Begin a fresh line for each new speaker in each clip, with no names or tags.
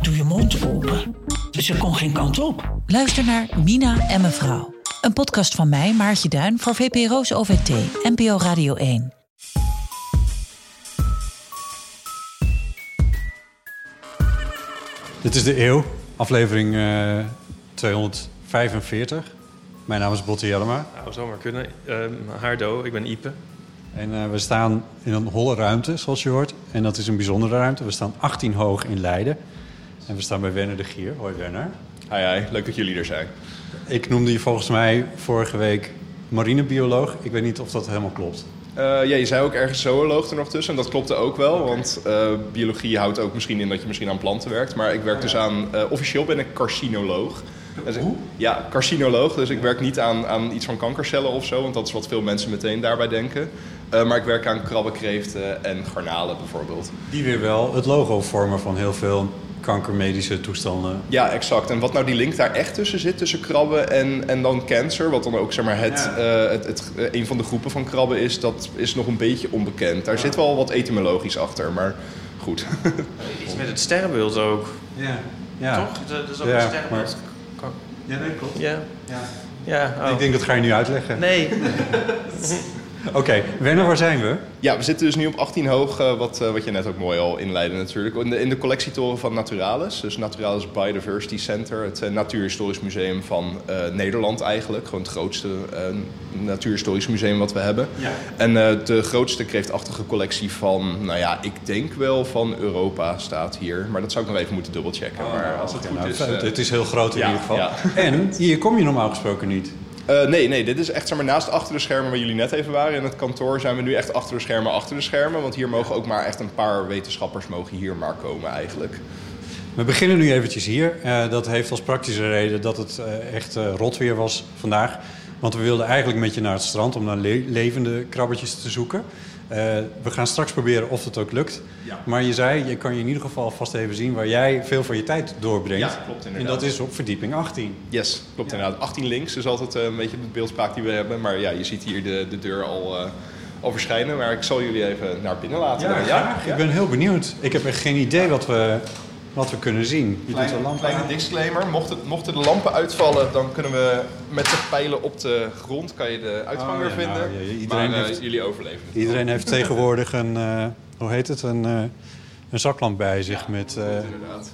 doe je mond open. Ze kon geen kant op.
Luister naar Mina en mevrouw. Een podcast van mij, Maartje Duin, voor VPRO's OVT, NPO Radio 1.
Dit is de eeuw, aflevering eh, 245. Mijn naam is Botte Jellema
Nou, zou maar kunnen. Ehm, Haardo, ik ben Ipe.
en eh, we staan in een holle ruimte, zoals je hoort. En dat is een bijzondere ruimte. We staan 18 hoog in Leiden. En we staan bij Werner de Gier. Hoi Werner.
Hi, hi. Leuk dat jullie er zijn.
Ik noemde je volgens mij vorige week marinebioloog. Ik weet niet of dat helemaal klopt.
Eh, ja, je zei ook ergens zooloog er nog tussen. En dat klopte ook wel, want eh, biologie houdt ook misschien in dat je misschien aan planten werkt. Maar ik werk dus aan... eh, officieel ben ik carcinoloog. Dus ik- ja, carcinoloog. Dus ik werk niet aan, aan iets van kankercellen of zo, want dat is wat veel mensen meteen daarbij denken. Eh, maar ik werk aan krabbenkreeften en garnalen bijvoorbeeld.
Die weer wel het logo vormen van heel veel kankermedische toestanden.
Ja, exact. En wat nou die link daar echt tussen zit, tussen krabben en, en dan cancer, wat dan ook zeg maar het, eh, het, het, eh, een van de groepen van krabben is, dat is nog een beetje onbekend. Daar zit wel wat etymologisch achter, maar goed.
Iets met het sterrenbeeld ook,
Ja. ja.
toch? Dat is
ook
ook
Ja, een
een
sterrenbeeld.
sterrenbeeld.
Ja, nee, klopt.
Ja.
Ja.
Ja, oh.
Ik denk dat ga je nu uitleggen.
Nee.
Oké, Werner, waar zijn we?
ja, we zitten dus nu op 18 hoog, eh, wat, eh, wat je net ook mooi al inleidde natuurlijk, in de, in de collectietoren van Naturalis. Dus Naturalis Biodiversity Center, het eh, natuurhistorisch museum van eh, Nederland eigenlijk. Gewoon het grootste eh, natuurhistorisch museum wat we hebben. En eh, de grootste kreeftachtige collectie van, nou ja, ik denk wel van Europa staat hier. Maar dat zou ik nog even moeten dubbelchecken. maar als het
Oké,
goed
nou,
is...
het,
eh,
het is heel groot in
ja,
ieder geval.
ja.
En hier kom je normaal gesproken niet.
eh, nee, nee, dit is echt zeg maar, naast achter de schermen waar jullie net even waren. In het kantoor zijn we nu echt achter de schermen, achter de schermen. Want hier mogen ook maar echt een paar wetenschappers mogen hier maar komen eigenlijk.
We beginnen nu eventjes hier. Eh, dat heeft als praktische reden dat het eh, echt eh, rot weer was vandaag. Want we wilden eigenlijk met je naar het strand om naar le- levende krabbetjes te zoeken. Eh, we gaan straks proberen of dat ook lukt. Maar je zei, je kan je in ieder geval vast even zien waar jij veel van je tijd doorbrengt.
Ja, klopt,
en
inderdaad.
dat is op verdieping 18.
Yes, klopt inderdaad. 18 links is altijd eh, een beetje de beeldspraak die we hebben. Maar ja, je ziet hier de, de deur al, eh, al verschijnen. Maar ik zal jullie even naar binnen laten.
Ja,
dan.
graag. Ik ben heel benieuwd. Ik heb echt geen idee wat we, wat we kunnen zien. Je doet de
Kleine,
lamp
kleine
aan.
disclaimer, mochten, mochten de lampen uitvallen, dan kunnen we met de pijlen op de grond kan je de uitgang
Oh,
weer
ja,
vinden.
nou, ja, iedereen
maar eh,
heeft-
jullie overleven het.
Iedereen heeft tegenwoordig een, eh, hoe heet het, een, eh, een zaklamp bij zich met eh,
Inderdaad.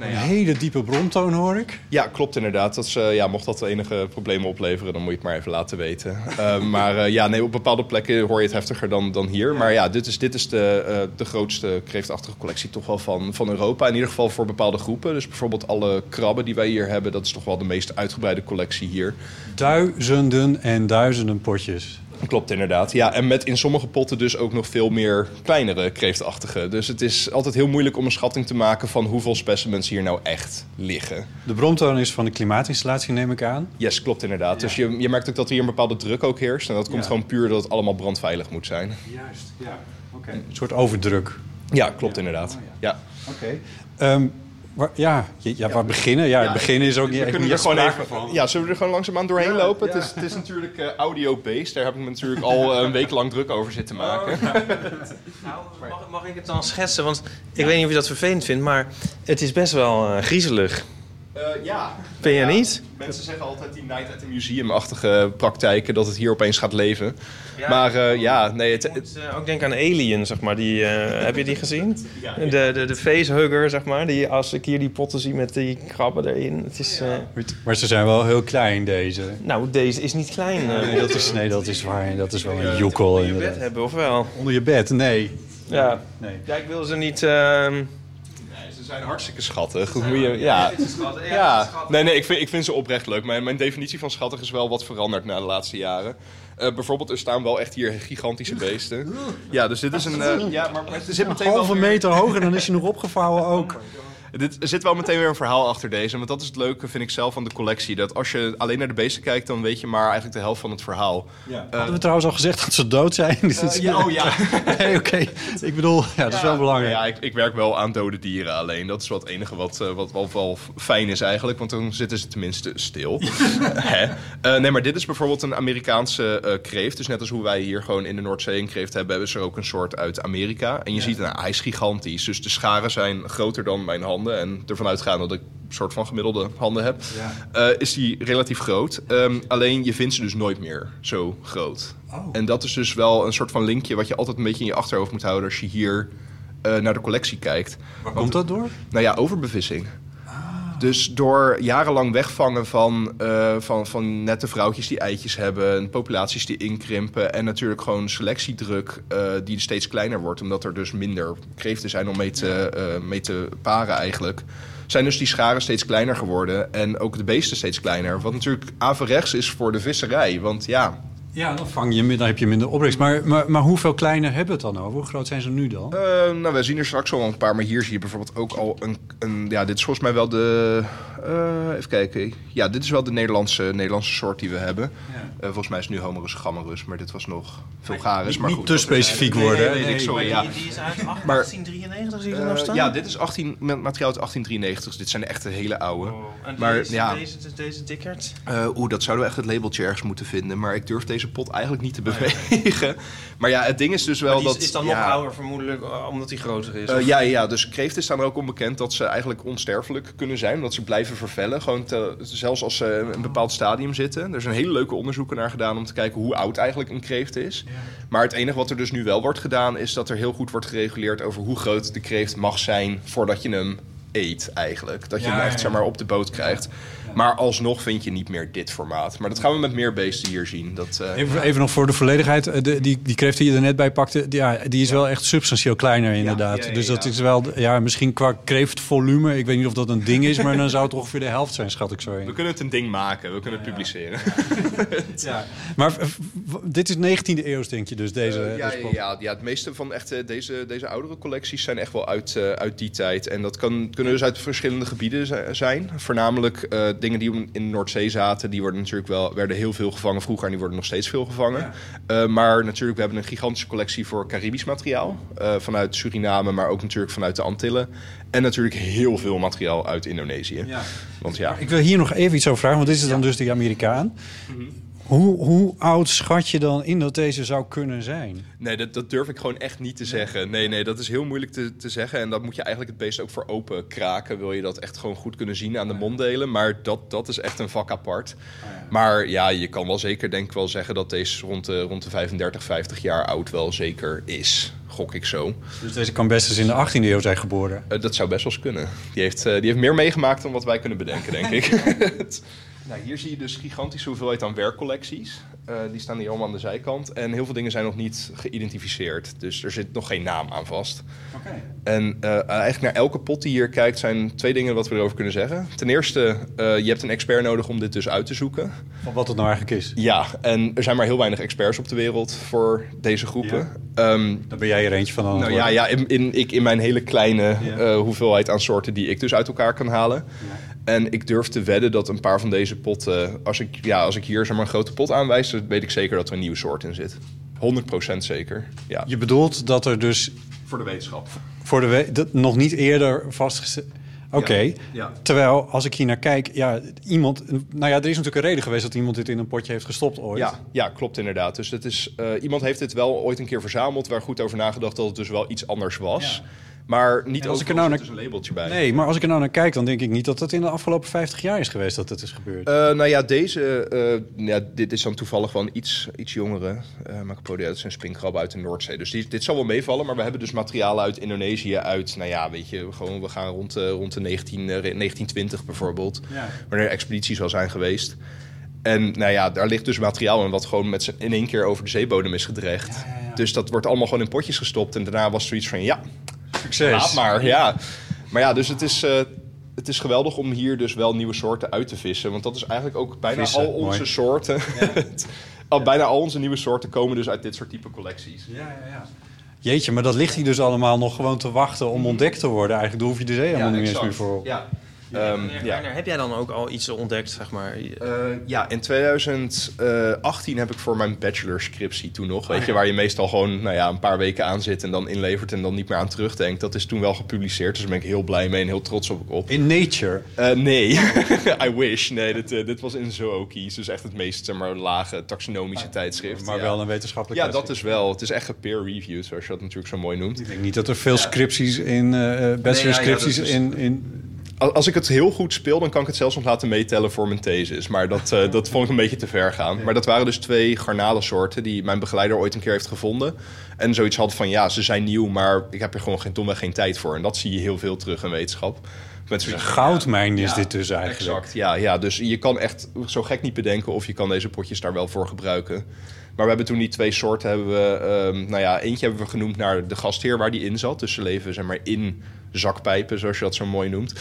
een hele diepe bromtoon hoor ik.
Ja, klopt inderdaad. Dat is, eh, ja, mocht dat enige problemen opleveren, dan moet je het maar even laten weten. Eh, maar eh, ja, nee, op bepaalde plekken hoor je het heftiger dan, dan hier. Maar ja, dit is, dit is de, eh, de grootste kreeftachtige collectie toch wel van, van Europa. In ieder geval voor bepaalde groepen. Dus bijvoorbeeld alle krabben die wij hier hebben, dat is toch wel de meest uitgebreide collectie hier.
Duizenden en duizenden potjes.
Klopt inderdaad. Ja, en met in sommige potten dus ook nog veel meer kleinere kreeftachtige. Dus het is altijd heel moeilijk om een schatting te maken van hoeveel specimens hier nou echt liggen.
De bromtoon is van de klimaatinstallatie neem ik aan.
Yes, klopt inderdaad. Dus je, je merkt ook dat hier een bepaalde druk ook heerst. En dat komt
Ja.
gewoon puur dat het allemaal brandveilig moet zijn.
Juist, ja. Oké. Een soort overdruk.
Ja, klopt inderdaad. ja.
Oké. ja, je- ja, waar beginnen? Ja,
Ja,
beginnen is ook niet
We
echt
kunnen er
niet
gewoon
sprake
even
van.
Ja, zullen we er gewoon langzaamaan doorheen lopen?
ja.
Het, is, het is natuurlijk eh, audio-based. Daar heb ik me natuurlijk al eh, een week lang druk over zitten maken.
Nou, mag, mag ik het dan schetsen? Want ik weet niet of je dat vervelend vindt, maar het is best wel eh, griezelig.
Eh, ja.
Vind je
Ja,
niet?
Mensen zeggen altijd die night at the museum-achtige praktijken, dat het hier opeens gaat leven. maar eh, ja, nee, het,
Ik
het-
moet, eh, ook denken aan Alien, zeg maar. Die, eh, heb je die gezien?
Ja.
De, de, de facehugger, zeg maar. Die, als ik hier die potten zie met die krabben erin. Het is, eh,
Maar ze zijn wel heel klein deze.
nou, deze is niet klein. eh,
Nee, dat is, nee, dat is waar. Dat is wel een joekel
Wil je bed
inderdaad.
hebben, of wel?
Onder je bed? Nee.
Ja.
Nee.
Ja, ik wil ze niet... ehm,
nee, ze zijn hartstikke schattig. Hoe moet je, ja.
schat-
Ja,
schat-
nee, nee, ik vind, ik vind ze oprecht leuk. Mijn, mijn definitie van schattig is wel wat veranderd na de laatste jaren. Eh, bijvoorbeeld, er staan wel echt hier gigantische beesten. Ja, dus dit is een. eh, ja, maar, maar het zit meteen wel
Halve
weer-
meter hoger, dan is je nog opgevouwen ook.
Dit, er zit wel meteen weer een verhaal achter deze. Want dat is het leuke, vind ik zelf, van de collectie. Dat als je alleen naar de beesten kijkt, dan weet je maar eigenlijk de helft van het verhaal.
Hadden we trouwens al gezegd dat ze dood zijn? Dus-
ja, oh ja.
Nee, oké. Ik bedoel, ja, dat is wel belangrijk.
Ja, ik, ik werk wel aan dode dieren alleen. Dat is wel het enige wat, eh, wat wel, wel fijn is eigenlijk. Want dan zitten ze tenminste stil. Hè? Eh, nee, maar dit is bijvoorbeeld een Amerikaanse eh, kreeft. Dus net als hoe wij hier gewoon in de Noordzee een kreeft hebben... hebben ze er ook een soort uit Amerika. En je ziet, nou, hij is gigantisch. Dus de scharen zijn groter dan mijn handen. En ervan uitgaan dat ik een soort van gemiddelde handen heb... eh, is die relatief groot. Ehm, alleen je vindt ze dus nooit meer zo groot. En dat is dus wel een soort van linkje... wat je altijd een beetje in je achterhoofd moet houden... als je hier eh, naar de collectie kijkt.
Waar komt dat door?
Nou ja, overbevissing. Dus door jarenlang wegvangen van, eh, van, van nette vrouwtjes die eitjes hebben, en populaties die inkrimpen en natuurlijk gewoon selectiedruk eh, die steeds kleiner wordt, omdat er dus minder kreeften zijn om mee te, eh, mee te paren eigenlijk, zijn dus die scharen steeds kleiner geworden en ook de beesten steeds kleiner. Wat natuurlijk averechts is voor de visserij, want ja,
Ja, dan, vang je, min- dan heb je minder opbrengst. Maar, maar, maar hoeveel kleiner hebben we het dan over? Hoe groot zijn ze nu dan?
Eh, nou, we zien er straks al een paar, maar hier zie je bijvoorbeeld ook al een. een ja, dit is volgens mij wel de. eh, even kijken. Ja, dit is wel de Nederlandse, Nederlandse soort die we hebben. Eh, volgens mij is nu Homerus gammerus, maar dit was nog Vulgaris. Maar goed,
Niet te
dat is-
specifiek
Nee, nee,
worden. hè?
nee, nee, ik- sorry, ja.
Die, die is uit 1893, zie je er nog
Eh,
staan?
ja, dit is 18, met materiaal uit 1893. Dit zijn de echte hele oude.
Oh, En
Maar
deze,
ja,
deze, deze, deze dikkerd.
eh, oeh, dat zouden we echt het labeltje ergens moeten vinden. Maar ik durf deze pot eigenlijk niet te bewegen. Maar ja, het ding is dus wel
Oh, Die is,
dat.
is dan
ja,
nog ouder vermoedelijk, eh, omdat hij groter is.
Eh, ja, ja, dus kreeften staan er ook onbekend dat ze eigenlijk onsterfelijk kunnen zijn. Omdat ze blijven vervellen. Gewoon te- zelfs als ze in een bepaald stadium zitten. Er zijn hele leuke onderzoeken naar gedaan om te kijken hoe oud eigenlijk een kreeft is. Maar het enige wat er dus nu wel wordt gedaan is dat er heel goed wordt gereguleerd over hoe groot de kreeft mag zijn voordat je hem eet eigenlijk. Dat je hem echt zeg maar, op de boot krijgt. Maar alsnog vind je niet meer dit formaat. Maar dat gaan we met meer beesten hier zien. Dat, eh,
Even, even nog voor de volledigheid. eh, De, die, die kreeft die je er net bij pakte, die, ja, die is wel echt substantieel kleiner inderdaad.
ja, ja,
dus dat
ja.
is wel, ja, misschien qua kreeftvolume. Ik weet niet of dat een ding is, maar dan zou het ongeveer de helft zijn, schat ik zo
we
in.
kunnen het een ding maken. We kunnen het publiceren.
Maar v- v- dit is 19e eeuws, denk je dus, deze,
Eh, ja,
deze
ja,
pot?
ja, ja, het meeste van echt, eh, deze, deze oudere collecties zijn echt wel uit, eh, uit die tijd. En dat kan, kunnen dus uit verschillende gebieden zi- zijn. Voornamelijk eh, dingen die in de Noordzee zaten, die worden natuurlijk wel, werden heel veel gevangen vroeger en die worden nog steeds veel gevangen. Eh, maar natuurlijk, we hebben een gigantische collectie voor Caribisch materiaal. eh, vanuit Suriname, maar ook natuurlijk vanuit de Antillen. En natuurlijk heel veel materiaal uit Indonesië. Want ja,
Ah, Ik wil hier nog even iets over vragen, want dit is dan dus de Amerikaan.
Mhm.
Hoe, hoe oud schat je dan in dat deze zou kunnen zijn?
Nee, dat, dat durf ik gewoon echt niet te zeggen. Nee, nee, dat is heel moeilijk te, te zeggen. En dat moet je eigenlijk het beest ook voor open kraken. Wil je dat echt gewoon goed kunnen zien aan de monddelen. Maar dat, dat is echt een vak apart. Maar Ah, ja, je kan wel zeker denk ik wel zeggen dat deze rond de, rond de 35, 50 jaar oud wel zeker is. Gok ik zo.
Dus deze kan best eens in de 18e eeuw zijn geboren.
Eh, dat zou best wel eens kunnen. Die heeft, eh, die heeft meer meegemaakt dan wat wij kunnen bedenken, denk ik. Het- nou, hier zie je dus gigantische hoeveelheid aan werkcollecties. Eh, die staan hier allemaal aan de zijkant. En heel veel dingen zijn nog niet geïdentificeerd. Dus er zit nog geen naam aan vast. En eh, eigenlijk naar elke pot die hier kijkt zijn twee dingen wat we erover kunnen zeggen. Ten eerste, eh, je hebt een expert nodig om dit dus uit te zoeken.
Van wat het nou eigenlijk is.
Ja, en er zijn maar heel weinig experts op de wereld voor deze groepen. Ehm,
Daar ben jij er eentje van aan het
nou
worden.
ja, ja in, in, ik, in mijn hele kleine eh, hoeveelheid aan soorten die ik dus uit elkaar kan halen. En ik durf te wedden dat een paar van deze potten, als ik, ja, als ik hier zeg maar, een grote pot aanwijs, dan weet ik zeker dat er een nieuwe soort in zit. 100% zeker. Ja.
Je bedoelt dat er dus
Voor de wetenschap.
voor de we- dat nog niet eerder vastgesteld. Oké.
ja.
Terwijl als ik hier naar kijk, ja, iemand. Nou ja, er is natuurlijk een reden geweest dat iemand dit in een potje heeft gestopt ooit.
Ja, ja, klopt inderdaad. Dus het is, eh, iemand heeft dit wel ooit een keer verzameld, waar goed over nagedacht dat het dus wel iets anders was. Maar niet
En als ik er
overal
nou
zit
naar-
dus een labeltje bij.
Nee, maar als ik er nou naar kijk, dan denk ik niet dat dat in de afgelopen 50 jaar is geweest dat het is gebeurd.
Eh, nou ja, deze, eh, ja, dit is dan toevallig wel een iets, iets jongere. eh Macropodia, dat is een springkrab uit de Noordzee. Dus die, dit zal wel meevallen, maar we hebben dus materialen uit Indonesië, uit, nou ja, weet je, gewoon, we gaan rond, eh, rond de 19, eh, 1920 bijvoorbeeld, wanneer er expedities wel zijn geweest. En nou ja, daar ligt dus materiaal in wat gewoon met z'n- in één keer over de zeebodem is gedreigd. Dus dat wordt allemaal gewoon in potjes gestopt. En daarna was zoiets van, ja,
Succes.
Laat maar, ja. Maar ja, dus het is, eh, het is geweldig om hier dus wel nieuwe soorten uit te vissen. Want dat is eigenlijk ook bijna
Vissen,
al onze
mooi.
soorten. al, bijna al onze nieuwe soorten komen dus uit dit soort type collecties.
Jeetje, maar dat ligt hier dus allemaal nog gewoon te wachten om ontdekt te worden. Eigenlijk daar hoef je de zee helemaal niet eens
exact.
meer voor op.
Ja.
Ehm,
Ehm, ja.
Heb jij dan ook al iets ontdekt, zeg maar?
Eh, ja, in 2018 heb ik voor mijn bachelorscriptie toen nog, weet je, waar je meestal gewoon nou ja, een paar weken aan zit en dan inlevert en dan niet meer aan terugdenkt. Dat is toen wel gepubliceerd, dus daar ben ik heel blij mee en heel trots op. op.
In Nature.
Eh, nee, I wish. Nee, dit, eh, dit was in Zookies, dus echt het meest zeg maar, lage taxonomische tijdschrift.
Ah, Maar
ja.
wel een wetenschappelijk
Ja, dat is wel. Het is echt gepeer-reviewed, zoals je dat natuurlijk zo mooi noemt.
Ik denk niet dat er veel scripties in, eh eh,
Nee, ja, ja,
bachelorscripties
dat is-
in, in...
Al- Als ik het heel goed speel, dan kan ik het zelfs nog laten meetellen voor mijn thesis. Maar dat, eh, dat vond ik een beetje te ver gaan. Maar dat waren dus twee garnalensoorten die mijn begeleider ooit een keer heeft gevonden. En zoiets had van, ja, ze zijn nieuw, maar ik heb er gewoon geen, domweg geen tijd voor. En dat zie je heel veel terug in wetenschap. Mensen
Een
zeggen,
goudmijn is
Ja,
dit dus eigenlijk.
Exact, ja, ja. Dus je kan echt zo gek niet bedenken of je kan deze potjes daar wel voor gebruiken. Maar we hebben toen die twee soorten hebben we, ehm, nou ja, eentje hebben we genoemd naar de gastheer waar die in zat. Dus ze leven zeg maar in zakpijpen, zoals je dat zo mooi noemt.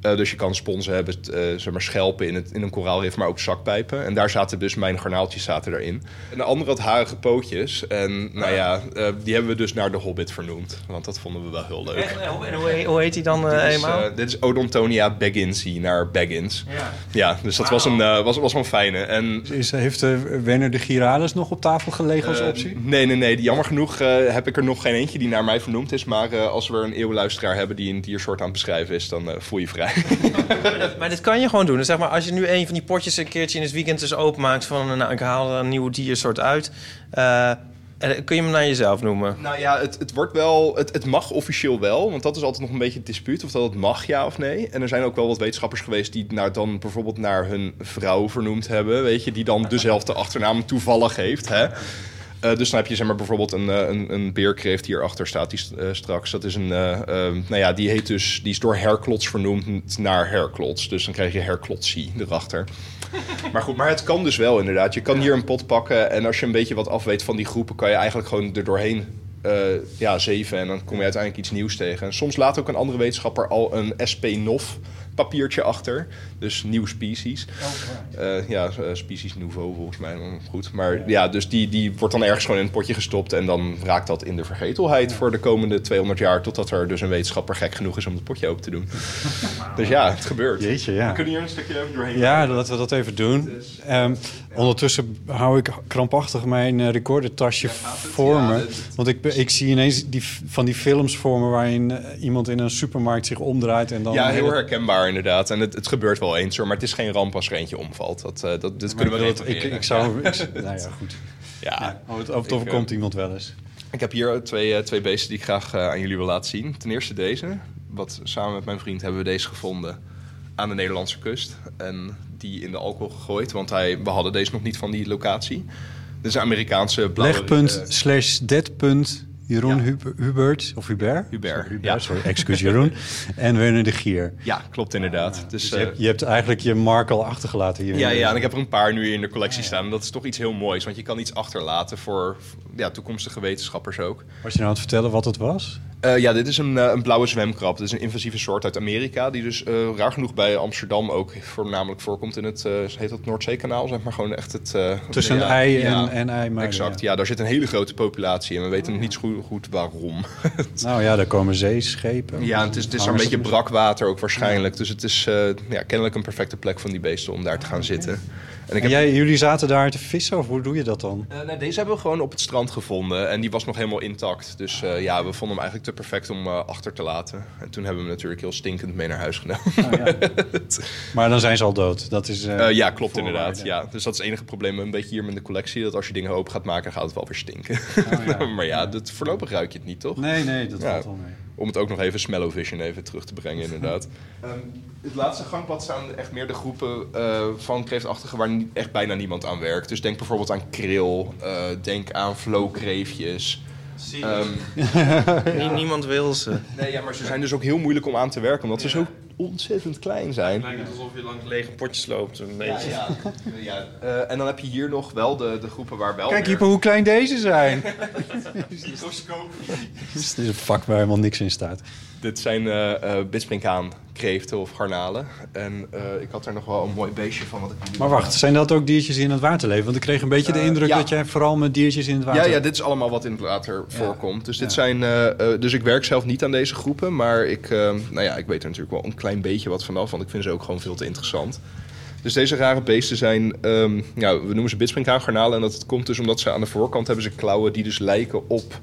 Eh, dus je kan sponsen hebben, t- eh, zeg maar schelpen in, het, in een koraalrif, maar ook zakpijpen. En daar zaten dus mijn garnaaltjes zaten daarin. En de andere had harige pootjes. En nou ja, eh, die hebben we dus naar de Hobbit vernoemd. Want dat vonden we wel heel leuk.
hoe, hoe heet die dan
Eh, Dit
eh,
is,
eenmaal?
eh, dit is Odontonia bagginsi naar Baggins.
Ja.
Ja, dus dat was, een, eh, was, was wel een fijne. En,
Is, heeft eh, Werner de Giralis nog op tafel gelegen als
eh,
optie?
nee, nee, nee. Jammer genoeg eh, heb ik er nog geen eentje die naar mij vernoemd is. Maar eh, als we er een eeuwluisteraar hebben die een diersoort aan het beschrijven is, dan eh, voel je vrij.
Maar dit kan je gewoon doen. Dus zeg maar, als je nu een van die potjes een keertje in het weekend dus openmaakt... van nou, ik haal er een nieuw diersoort uit... eh, en kun je hem naar jezelf noemen.
nou ja, het, het wordt wel, het, het mag officieel wel. Want dat is altijd nog een beetje het dispuut of dat het mag, ja of nee. En er zijn ook wel wat wetenschappers geweest die nou, dan bijvoorbeeld naar hun vrouw vernoemd hebben. Weet je, die dan dezelfde achternaam toevallig heeft. Hè? Eh, dus dan heb je zeg maar, bijvoorbeeld een, eh, een, een beerkreeft die hierachter staat die, st- eh, straks. Dat is een, eh, eh, nou ja, die, heet dus, die is door Herklots vernoemd naar Herklots. Dus dan krijg je Herklotsie erachter. maar goed, maar het kan dus wel inderdaad. Je kan hier een pot pakken en als je een beetje wat afweet van die groepen... kan je eigenlijk gewoon er doorheen eh, ja, zeven en dan kom je uiteindelijk iets nieuws tegen. En soms laat ook een andere wetenschapper al een SP-NOF papiertje achter. Dus nieuw species. Eh, ja, eh, species nouveau volgens mij. maar Goed. Maar ja, dus die, die wordt dan ergens gewoon in een potje gestopt. En dan raakt dat in de vergetelheid voor de komende 200 jaar. Totdat er dus een wetenschapper gek genoeg is om het potje open te doen. Dus ja, het gebeurt.
Jeetje, ja.
We kunnen hier een stukje over doorheen.
Ja, laten we dat even doen. Ehm, ondertussen hou ik krampachtig mijn eh, recordertasje voor
Ja,
me.
dat-
Want ik, ik zie ineens die, f- van die films voor me... waarin eh, iemand in een supermarkt zich omdraait en dan...
Ja, heel herkenbaar inderdaad. En het, het gebeurt wel eens hoor. Maar het is geen ramp als er eentje omvalt. Dat, eh, dat, dit
Maar
kunnen we
ik, ik,
repareren.
ik zou... ik- nou ja, goed.
Ja. eh,
Ja, oh, het, het overkomt iemand wel eens.
Ik heb hier twee, eh, twee beesten die ik graag eh, aan jullie wil laten zien. Ten eerste deze. Wat, samen met mijn vriend hebben we deze gevonden aan de Nederlandse kust. En die in de alcohol gegooid, want hij, we hadden deze nog niet van die locatie. Dit is een Amerikaanse blauwe...
Legpunt
eh,
slash deadpunt Jeroen
Ja.
Hub- Hubert, of Hubert?
Hubert, ja.
ja. Sorry, excuus Jeroen. en Werner de Gier.
ja, klopt inderdaad. dus,
Dus je,
eh,
hebt, je hebt eigenlijk je Markel achtergelaten hier.
ja, ja, en ik heb er een paar nu in de collectie staan. En dat is toch iets heel moois, want je kan iets achterlaten voor ja, toekomstige wetenschappers ook.
Was je nou aan het vertellen wat het was?
Eh, ja, dit is een, eh, een blauwe zwemkrab. Dit is een invasieve soort uit Amerika, die dus eh, raar genoeg bij Amsterdam ook voornamelijk voorkomt in het, eh, heet dat Noordzeekanaal, zeg maar gewoon echt het... eh,
Tussen
ja,
een ei en,
ja,
en ei.
Exact, ja. daar zit een hele grote populatie en we weten niet zo goed- goed waarom.
Nou ja, daar komen zeeschepen.
ja, het is, het is een
Hangers
beetje
op de-
brak water ook waarschijnlijk, dus het is eh, ja, kennelijk een perfecte plek van die beesten om daar te gaan zitten. En ik
En
heb
jij, jullie zaten daar te vissen, of hoe doe je dat dan?
Eh, nou, deze hebben we gewoon op het strand gevonden en die was nog helemaal intact. Dus eh, ja, we vonden hem eigenlijk te perfect om eh, achter te laten. En toen hebben we hem natuurlijk heel stinkend mee naar huis genomen.
Maar dan zijn ze al dood. Dat is, eh,
Eh, ja, klopt
voorwaarde.
inderdaad. Ja. Dus dat is het enige probleem een beetje hier met de collectie. Dat als je dingen open gaat maken, gaat het wel weer stinken.
Oh, ja.
maar ja, dat, voorlopig ruik je het niet, toch?
Nee, nee, dat
Ja.
valt wel mee.
Om het ook nog even Smellovision even terug te brengen, inderdaad. Ehm, het laatste gangpad staan echt meer de groepen eh, van kreeftachtigen waar niet, echt bijna niemand aan werkt. Dus denk bijvoorbeeld aan kril, eh, denk aan flowkreefjes. Ehm,
Nie- Niemand wil ze.
nee, ja, maar ze zijn dus ook heel moeilijk om aan te werken, omdat ze zo ontzettend klein zijn.
lijkt het alsof je langs lege potjes loopt. Een
Ja,
beetje.
ja. ja. Eh, en dan heb je hier nog wel de, de groepen waar wel
Kijk,
weer-
Ipe, hoe klein deze zijn. Het is een vak waar helemaal niks in staat.
Dit zijn eh eh bidsprinkhaan, kreeften of garnalen. En eh, ik had er nog wel een mooi beestje van. Wat ik nu-
Maar wacht, zijn dat ook diertjes die in het water leven? Want ik kreeg een beetje de
Eh,
indruk
ja.
dat jij vooral met diertjes in het water...
Ja, ja, dit is allemaal wat in het water voorkomt. Dus, dit zijn, eh, eh, dus ik werk zelf niet aan deze groepen. Maar ik, eh, nou ja, ik weet er natuurlijk wel een klein beetje wat vanaf. Want ik vind ze ook gewoon veel te interessant. Dus deze rare beesten zijn, ehm, ja, we noemen ze bidsprinkhaangarnalen. En dat komt dus omdat ze aan de voorkant hebben ze klauwen die dus lijken op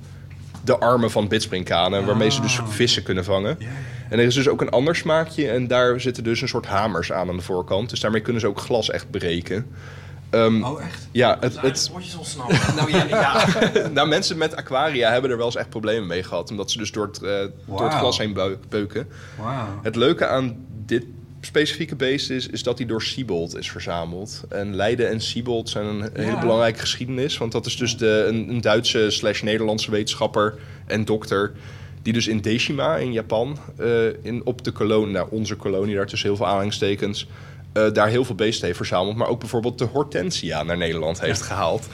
de armen van bidsprinkhanen. Waarmee ze
Ah.
dus vissen kunnen vangen. En er is dus ook een ander smaakje. En daar zitten dus een soort hamers aan aan de voorkant. Dus daarmee kunnen ze ook glas echt breken. Ehm,
Oh, echt?
Ja, het, het,
Het potjes ontsnappen.
nou ja, ja. nou, mensen met aquaria hebben er wel eens echt problemen mee gehad. Omdat ze dus door het, eh, door het
Wauw.
glas heen beu- beuken.
Wauw.
Het leuke aan dit specifieke beest is, is dat hij door Siebold is verzameld. En Leiden en Siebold zijn een hele belangrijke geschiedenis. Want dat is dus de, een, een Duitse slash Nederlandse wetenschapper en dokter... die dus in Deshima in Japan, eh, in, op de kolonie, nou, onze kolonie, daar tussen heel veel aanhalingstekens... eh, daar heel veel beesten heeft verzameld. Maar ook bijvoorbeeld de Hortensia naar Nederland heeft gehaald.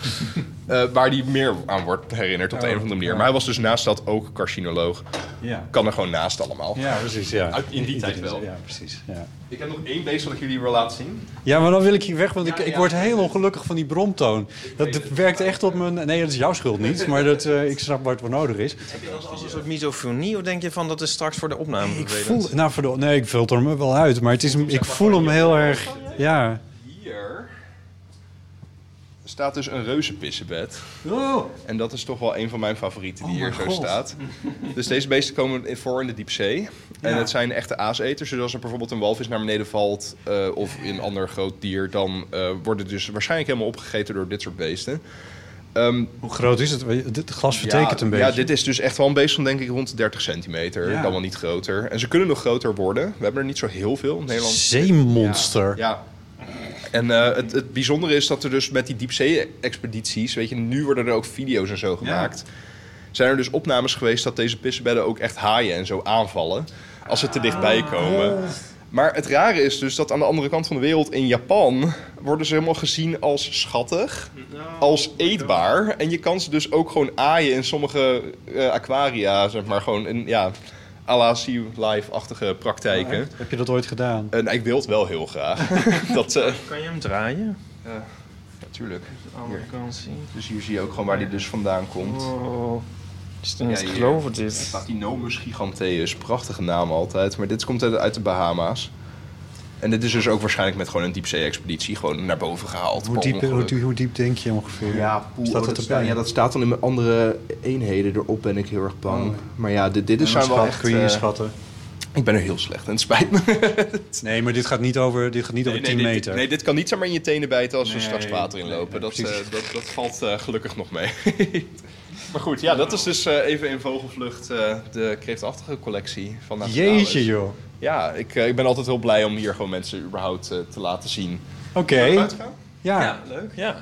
Eh, waar die meer aan wordt herinnerd op de een of andere manier. Maar hij was dus naast dat ook carcinoloog.
Oh, Ja.
Kan er gewoon naast allemaal.
Ja, precies, ja.
Uit- in die tijd wel.
Ja, precies, ja.
Ik heb nog één beest dat ik jullie wil laten zien.
Ja, maar dan wil ik hier weg, want ik,
Ja,
ik
ja.
word heel ongelukkig van die bromtoon. Dat werkt echt op mijn... Nee, dat is jouw schuld niet, maar dat, eh, ik snap waar het voor nodig is.
Als een soort misofonie, of denk je van dat is straks voor de opname?
Ik
vervelend?
voel... Nou, verdo- nee, ik filter hem er wel uit, maar het is, hem- ik voel hem heel erg... Ja.
Hier staat dus een reuzenpissenbed.
Oh.
En dat is toch wel een van mijn favorieten die
Oh
hier
mijn
zo
God.
staat. Dus deze beesten komen in- voor in de diepzee. En het zijn echte aaseters. Dus als er bijvoorbeeld een walvis naar beneden valt eh, of een ander groot dier... dan eh worden dus waarschijnlijk helemaal opgegeten door dit soort beesten. Ehm,
Hoe groot is het? Het glas vertekent
ja,
een beetje.
Ja, dit is dus echt wel een beest van denk ik rond de 30 centimeter.
Ja.
Dan wel niet groter. En ze kunnen nog groter worden. We hebben er niet zo heel veel in Nederland.
Zeemonster.
Ja. En eh, het, het bijzondere is dat er dus met die diepzee-expedities, weet je, nu worden er ook video's en zo gemaakt. Zijn er dus opnames geweest dat deze pissebedden ook echt haaien en zo aanvallen als ze te dichtbij komen. Maar het rare is dus dat aan de andere kant van de wereld, in Japan, worden ze helemaal gezien als schattig, als eetbaar. En je kan ze dus ook gewoon aaien in sommige eh, aquaria, zeg maar gewoon in, ja, à la Sea Life-achtige praktijken.
Heb je dat ooit gedaan?
Eh, nou, ik wil het wel heel graag. dat, eh,
Kan je hem draaien?
natuurlijk.
Aan de kant zien.
Dus hier zie je ook gewoon waar die dus vandaan komt.
Oh, is het niet
Ja,
te
hier.
geloven dit?
Platinomus giganteus, prachtige naam altijd. Maar dit komt uit, uit de Bahama's. En dit is dus ook waarschijnlijk met gewoon een diepzee-expeditie gewoon naar boven gehaald.
Hoe
per
diep, hoe,
ongeluk.
diep- hoe diep denk je ongeveer?
Ja, poeh,
Staat
oh,
dat
dat
erbij?
sta- ja, dat staat dan in mijn andere eenheden erop, ben ik heel erg bang.
Oh.
Maar ja, dit, dit
En
is zijn wel
schat-
echt...
kun je hier
eh,
schatten?
ik ben er heel slecht en het spijt me.
Nee, maar dit gaat niet over, dit gaat niet over 10
dit-
meter.
nee, dit kan niet zomaar in je tenen bijten als we straks water inlopen. dat,
precies.
eh, dat, dat valt eh, gelukkig nog mee. maar goed, ja, dat is dus eh, even in vogelvlucht eh, de kreeftachtige collectie van Naturalis.
Jeetje joh.
Ja, ik, eh, ik ben altijd heel blij om hier gewoon mensen überhaupt eh, te laten zien.
Oké.
Uitgaan?
Ja.
Ja, leuk. Ja.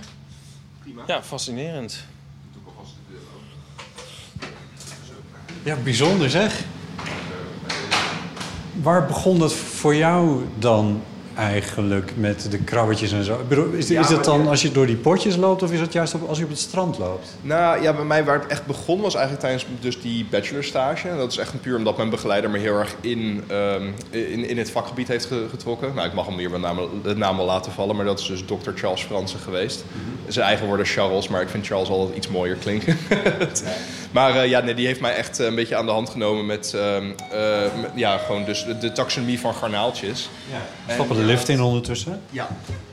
Ja, fascinerend.
ja, bijzonder zeg. Waar begon dat voor jou dan eigenlijk met de krabbetjes en zo? Ik bedoel, Is, is dat dan als je door die potjes loopt of is dat juist op, als je op het strand loopt?
Nou ja, bij mij waar het echt begon was eigenlijk tijdens dus die bachelorstage. En dat is echt puur omdat mijn begeleider me heel erg in, ehm, in, in het vakgebied heeft ge- getrokken. Nou, ik mag hem hier wel naam, de naam al laten vallen, maar dat is dus Dr. Charles Fransen geweest. Zijn eigen woorden Charles, maar ik vind Charles altijd iets mooier klinken. maar eh, ja, nee, die heeft mij echt eh, een beetje aan de hand genomen met, ehm, eh, met- ja, gewoon dus de- de taxonomie van garnaaltjes.
Ja. Stappen de lift in ondertussen.
Ja.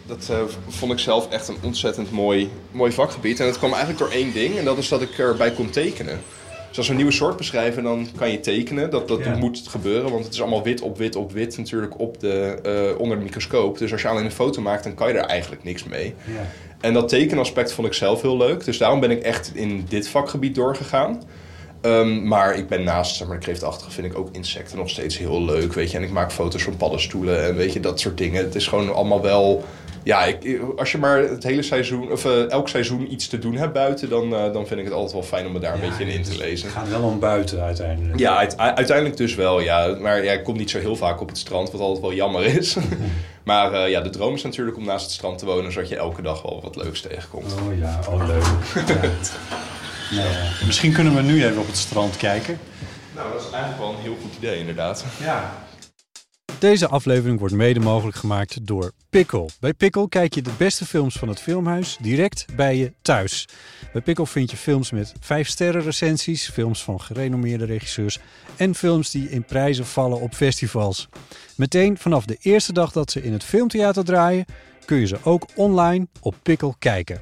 Dat eh, v- vond ik zelf echt een ontzettend mooi, mooi vakgebied. En dat kwam eigenlijk door één ding. En dat is dat ik erbij kon tekenen. Dus als we een nieuwe soort beschrijven, dan kan je tekenen. Dat, dat
Ja.
moet gebeuren, want het is allemaal wit op wit op wit natuurlijk op de, eh, onder de microscoop. Dus als je alleen een foto maakt, dan kan je daar eigenlijk niks mee.
Ja.
En dat tekenaspect vond ik zelf heel leuk. Dus daarom ben ik echt in dit vakgebied doorgegaan. Ehm, maar ik ben naast zeg maar, de kreeftachtige vind ik ook insecten nog steeds heel leuk. Weet je. En ik maak foto's van paddenstoelen en weet je, dat soort dingen. Het is gewoon allemaal wel... Ja, ik, als je maar het hele seizoen, of eh, elk seizoen iets te doen hebt buiten... Dan, eh, dan vind ik het altijd wel fijn om me daar een beetje in, in te lezen.
Het gaat dus wel om buiten uiteindelijk.
Ja, uit- u- uiteindelijk dus wel, ja. Maar ja, ik kom niet zo heel vaak op het strand, wat altijd wel jammer is. maar eh, ja, de droom is natuurlijk om naast het strand te wonen... zodat je elke dag wel wat leuks tegenkomt.
Oh ja, oh leuk. Ja. Nou ja. Misschien kunnen we nu even op het strand kijken.
Nou, dat is eigenlijk wel een heel goed idee, inderdaad.
Deze aflevering wordt mede mogelijk gemaakt door Pickle. Bij Pickle kijk je de beste films van het filmhuis direct bij je thuis. Bij Pickle vind je films met 5 sterren recensies, films van gerenommeerde regisseurs en films die in prijzen vallen op festivals. Meteen vanaf de eerste dag dat ze in het filmtheater draaien, kun je ze ook online op Pickle kijken.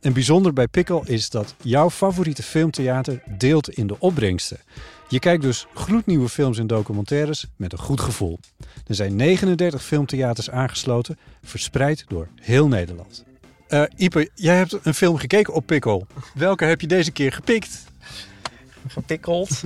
En bijzonder bij Pickle is dat jouw favoriete filmtheater deelt in de opbrengsten. Je kijkt dus gloednieuwe films en documentaires met een goed gevoel. Er zijn 39 filmtheaters aangesloten, verspreid door heel Nederland. Eh Ipe, jij hebt een film gekeken op Pickle. Welke heb je deze keer gepikt?
Gepikkeld.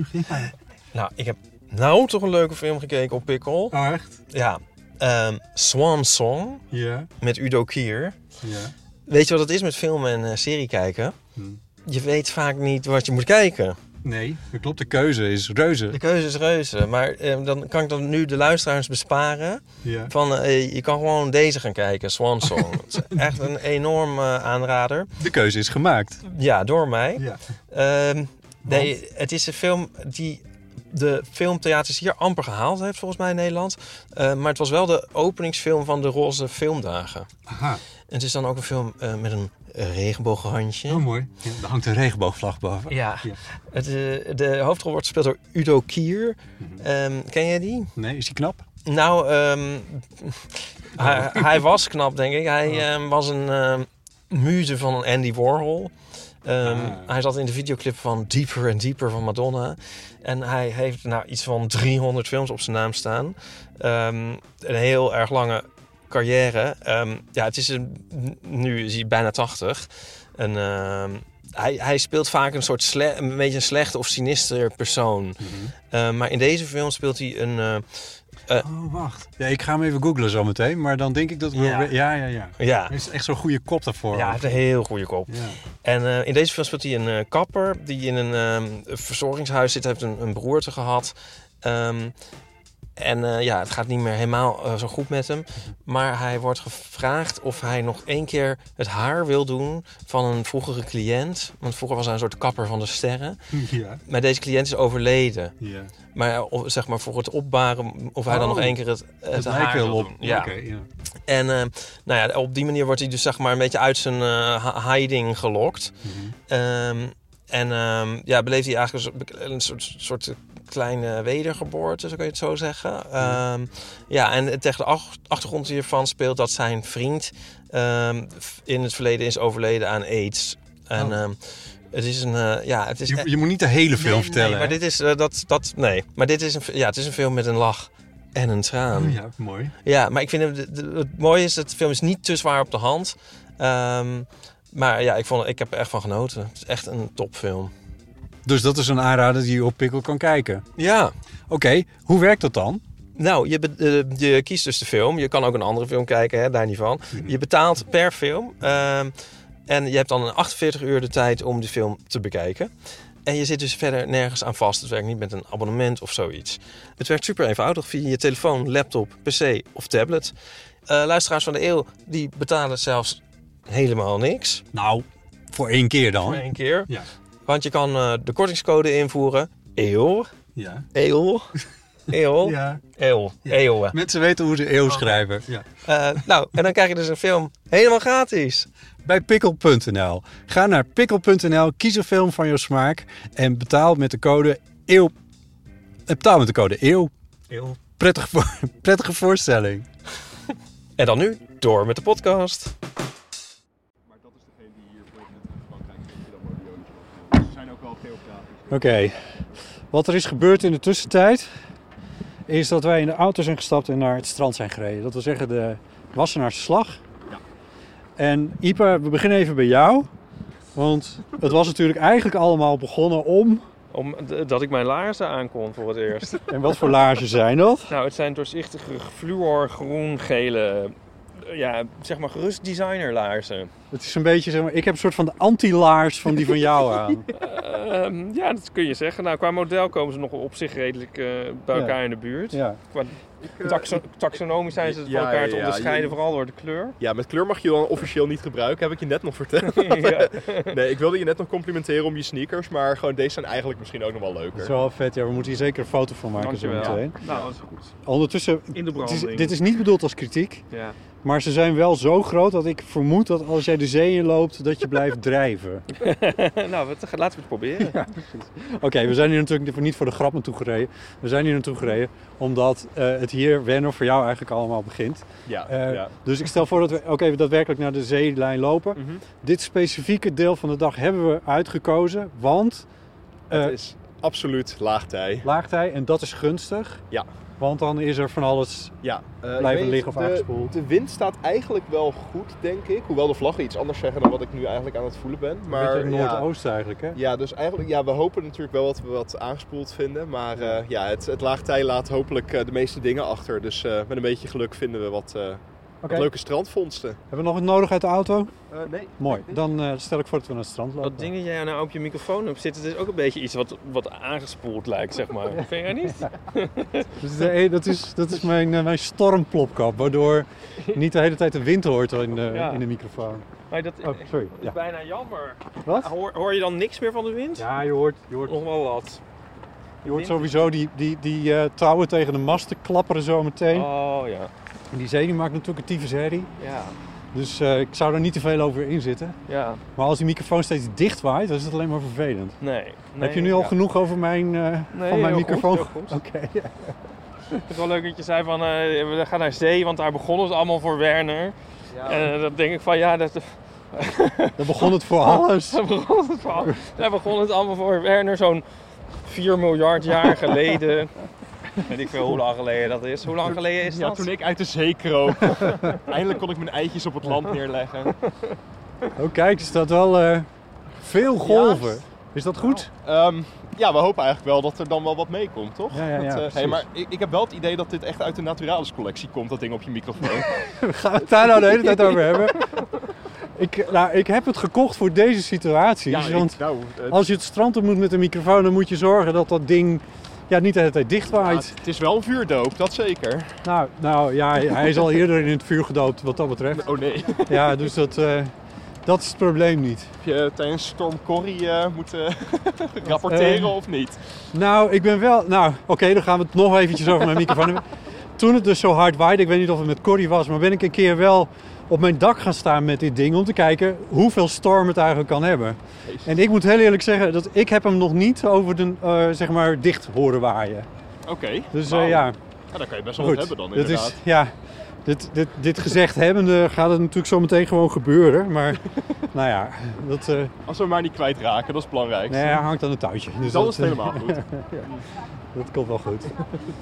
Nou, ik heb nou toch een leuke film gekeken op Pikkel.
Echt?
Ja. ehm, Swan Song
Ja.
met Udo Kier.
ja.
Weet je wat het is met film en eh, serie kijken?
Hmm.
Je weet vaak niet wat je moet kijken.
Nee, dat klopt. De keuze is reuze.
De keuze is reuze. Maar eh, dan kan ik dan nu de luisteraars besparen.
Ja.
Van, eh, je kan gewoon deze gaan kijken, Swan Song. Het is echt een enorm eh, aanrader.
De keuze is gemaakt.
Ja, door mij.
Ja.
Ehm, nee, het is een film die de filmtheaters hier amper gehaald heeft, volgens mij in Nederland. Eh, maar het was wel de openingsfilm van de Roze Filmdagen.
Aha,
En het is dan ook een film eh, met een eh, regenbooghandje.
heel Oh, mooi. Ja, daar hangt een regenboogvlag boven.
Ja,
Ja.
Het, eh, de hoofdrol wordt gespeeld door Udo Kier.
Mhm.
Ehm, ken jij die?
Nee, is die knap?
Nou, ehm, hij, hij was knap, denk ik. Hij ehm, was een ehm, muze van Andy Warhol. Ehm,
Ah.
Hij zat in de videoclip van Deeper and Deeper van Madonna. En hij heeft nou, iets van 300 films op zijn naam staan. Ehm, een heel erg lange carrière. Ehm, ja, het is een, nu is hij bijna 80. En, ehm, hij, hij speelt vaak een soort sle- een beetje een slechte of sinister persoon. Ehm, maar in deze film speelt hij een... eh,
Oh, wacht. Ja, ik ga hem even googlen zometeen, maar dan denk ik dat... ik wel
Ja.
re- ja, ja, ja.
ja,
Hij is echt zo'n goede kop daarvoor.
Ja, hij heeft een heel goede kop.
Ja.
En eh, in deze film speelt hij een eh, kapper die in een ehm, verzorgingshuis zit. Hij heeft een, een beroerte gehad. Ehm, en eh, ja, het gaat niet meer helemaal eh, zo goed met hem. Maar hij wordt gevraagd of hij nog één keer het haar wil doen van een vroegere cliënt. Want vroeger was hij een soort kapper van de sterren.
Ja.
Maar deze cliënt is overleden.
ja.
Maar eh, of, zeg maar voor het opbaren of hij dan
Oh,
nog één keer het, het
Het
haar
lijkt wel
wil
op.
doen. Ja.
Oké, ja.
En eh, nou ja, op die manier wordt hij dus zeg maar een beetje uit zijn eh, hi- hiding gelokt.
Mhm.
Ehm, en ehm, ja, beleeft hij eigenlijk een soort, een soort, soort kleine wedergeboorte, zo kun je het zo
Mhm.
zeggen. Ehm, ja, en tegen de ach- achtergrond hiervan speelt dat zijn vriend ehm, f- in het verleden is overleden aan aids. En
Oh.
ehm, het is een, eh, ja, het is...
Je, je moet niet de hele film
Nee,
vertellen.
Nee, maar dit is, eh, dat, dat, nee, maar dit is een, ja, het is een film met een lach en een traan.
hè? Oh, Ja, mooi.
Ja, maar ik vind hem- de- de- het mooie is dat de film is niet te zwaar op de hand. Ehm maar ja, ik, vond, ik heb er echt van genoten. Het is echt een topfilm.
Dus dat is een aanrader die je op Pikkel kan kijken.
Ja.
Oké, hoe werkt dat dan?
Nou, je, be- eh, je kiest dus de film. Je kan ook een andere film kijken, hè, daar niet van.
Mhm.
Je betaalt per film. ehm, en je hebt dan een 48 uur de tijd om de film te bekijken. En je zit dus verder nergens aan vast. Het werkt niet met een abonnement of zoiets. Het werkt super eenvoudig via je telefoon, laptop, pc of tablet. Eh, luisteraars van de eeuw, die betalen zelfs helemaal niks.
Nou, voor één keer dan.
Voor één keer.
Ja.
Want je kan eh, de kortingscode invoeren. Eeuw.
Ja.
Eeuw. Eeuw.
ja.
Eeuw. Eeuwen.
Mensen weten hoe ze
Oh.
eeuw schrijven. Ja.
Eh, nou, en dan krijg je dus een film helemaal gratis.
Bij pikkel.nl. Ga naar pikkel.nl, kies een film van jouw smaak en betaal met de code eeuw. eh, Betaal met de code eeuw.
Eeuw.
Prettige, voor- prettige voorstelling.
En dan nu door met de podcast.
Oké. Wat er is gebeurd in de tussentijd is dat wij in de auto zijn gestapt en naar het strand zijn gereden. Dat wil zeggen de Wassenaarse Slag. En Ipa, we beginnen even bij jou. Want het was natuurlijk eigenlijk allemaal begonnen om...
Omdat ik mijn laarzen aankon voor het eerst.
En wat voor laarzen zijn dat?
nou, het zijn doorzichtige fluor, groen, gele... Ja, zeg maar gerust designerlaarzen.
Het is een beetje, zeg maar, ik heb een soort van de anti-laars van die van jou aan.
Ehm, ja, dat kun je zeggen. Nou, qua model komen ze nog op zich redelijk eh, bij elkaar in de buurt.
Ja.
Qua taxo- taxonomisch zijn ze
Ja,
van elkaar
ja,
te
ja.
onderscheiden,
Je-
vooral door de kleur.
Ja, met kleur mag je dan officieel niet gebruiken, heb ik je net nog verteld.
ja.
Nee, ik wilde je net nog complimenteren om je sneakers, maar gewoon deze zijn eigenlijk misschien ook nog wel
Dat is
leuker.
wel vet. Ja, we moeten hier zeker een foto van maken zo
Dankjewel.
meteen.
Nou, dat is goed.
Ondertussen,
In de
het is-
branding.
dit is niet bedoeld als kritiek,
Ja.
maar ze zijn wel zo groot dat ik vermoed dat als jij de zee in loopt, dat je blijft drijven.
nou, wat- laten we het proberen.
Oké, we zijn hier natuurlijk niet voor de grap naartoe gereden. We zijn hier naartoe gereden omdat eh, het hier, Werner, voor jou eigenlijk allemaal begint.
Ja,
Eh,
ja.
Dus ik stel voor dat we ook even daadwerkelijk naar de zeelijn lopen.
Mhm.
Dit specifieke deel van de dag hebben we uitgekozen, want eh
Het is absoluut laagtij.
laagtij, en dat is gunstig.
Ja.
Want dan is er van alles.
Ja, eh,
Blijven
ik weet
liggen of
de-
aangespoeld.
De wind staat eigenlijk wel goed, denk ik. Hoewel de vlaggen iets anders zeggen dan wat ik nu eigenlijk aan het voelen ben.
Maar,
Maar
beetje
ja.
Noordoosten eigenlijk, hè?
Ja, dus eigenlijk, ja, we hopen natuurlijk wel wat we wat aangespoeld vinden. Maar eh, ja, het, het laagtij laat hopelijk eh, de meeste dingen achter. Dus eh, met een beetje geluk vinden we wat, eh, wat
Oké.
leuke strandvondsten.
Hebben we nog wat nodig uit de auto?
nee.
Mooi. Dan eh, stel ik voor dat we naar het strand lopen.
Eh, Dat ding dat jij nou op je microfoon hebt zitten, dat is ook een beetje iets wat, wat aangespoeld lijkt, zeg maar. Vind jij niet?
Dat is, de- Dus, eh, dat is, dat is mijn, eh, mijn stormplopkap, waardoor niet de hele tijd de wind hoort in de,
Ja.
in de microfoon.
Maar dat
Oh, sorry.
is
Ja.
bijna jammer.
Wat?
Hoor, hoor je dan niks meer van de wind?
Ja, je hoort, je hoort,
Nog wel wat.
je hoort sowieso die, die, die eh, touwen tegen de masten klapperen zo meteen.
Oh ja.
En die zee die maakt natuurlijk een tyfus herrie.
Ja.
Dus eh, ik zou er niet te veel over in zitten.
Ja.
Maar als die microfoon steeds dicht waait, dan is het alleen maar vervelend.
Nee. nee,
Heb je nu al
ja.
genoeg over mijn, eh,
Nee,
van mijn
heel
microfoon?
goed, heel goed.
Oké.
Ik vind het wel leuk dat je zei van eh, we gaan naar zee, want daar begon het allemaal voor Werner. En eh, dat denk ik van ja, dat,
Dan begon het
Oh.
voor alles.
daar, begon het voor, daar begon het allemaal voor Werner zo'n 4 miljard jaar geleden. Weet ik veel hoe lang geleden dat is. Hoe lang geleden is dat?
ik uit de zee kroop, eindelijk kon ik mijn eitjes op het land neerleggen.
Oh kijk, er staat wel eh, veel golven. Is dat goed?
Ehm, ja, we hopen eigenlijk wel dat er dan wel wat meekomt, toch?
Ja, ja, ja,
Dat, eh,
precies.
hey, maar ik, ik heb wel het idee dat dit echt uit de Naturalis collectie komt, dat ding op je microfoon.
Gaan we het daar nou de hele tijd over hebben? Ik, nou, ik heb het gekocht voor deze situaties.
ik-
want
nou, eh,
als je het strand op moet met een microfoon, dan moet je zorgen dat dat ding ja, niet de hele tijd dicht
ja,
waait.
het is wel een vuurdoop, dat zeker.
Nou, nou ja, hij is al eerder in het vuur gedoopt wat dat betreft.
Oh nee.
Ja, dus dat, eh, dat is het probleem niet.
Heb je tijdens Storm Corrie eh, moeten rapporteren
Eh.
of niet?
Nou, ik ben wel. Nou, oké, dan gaan we het nog eventjes over mijn microfoon hebben. Toen het dus zo hard waaide, ik weet niet of het met Corrie was, maar ben ik een keer wel op mijn dak gaan staan met dit ding om te kijken hoeveel storm het eigenlijk kan hebben. En ik moet heel eerlijk zeggen dat ik heb hem nog niet over de, eh, zeg maar, dicht horen waaien.
Oké.
Dus eh,
Nou,
ja,
ja, dan kan je best wel
goed.
wat hebben dan
dat
inderdaad.
is, ja, dit, dit, dit gezegd hebbende gaat het natuurlijk zo meteen gewoon gebeuren, maar nou ja, dat eh,
Als we hem maar niet kwijtraken, dat is belangrijk.
nee, hij hangt aan het touwtje. Dus
dat is
eh,
het helemaal goed.
Dat komt wel goed.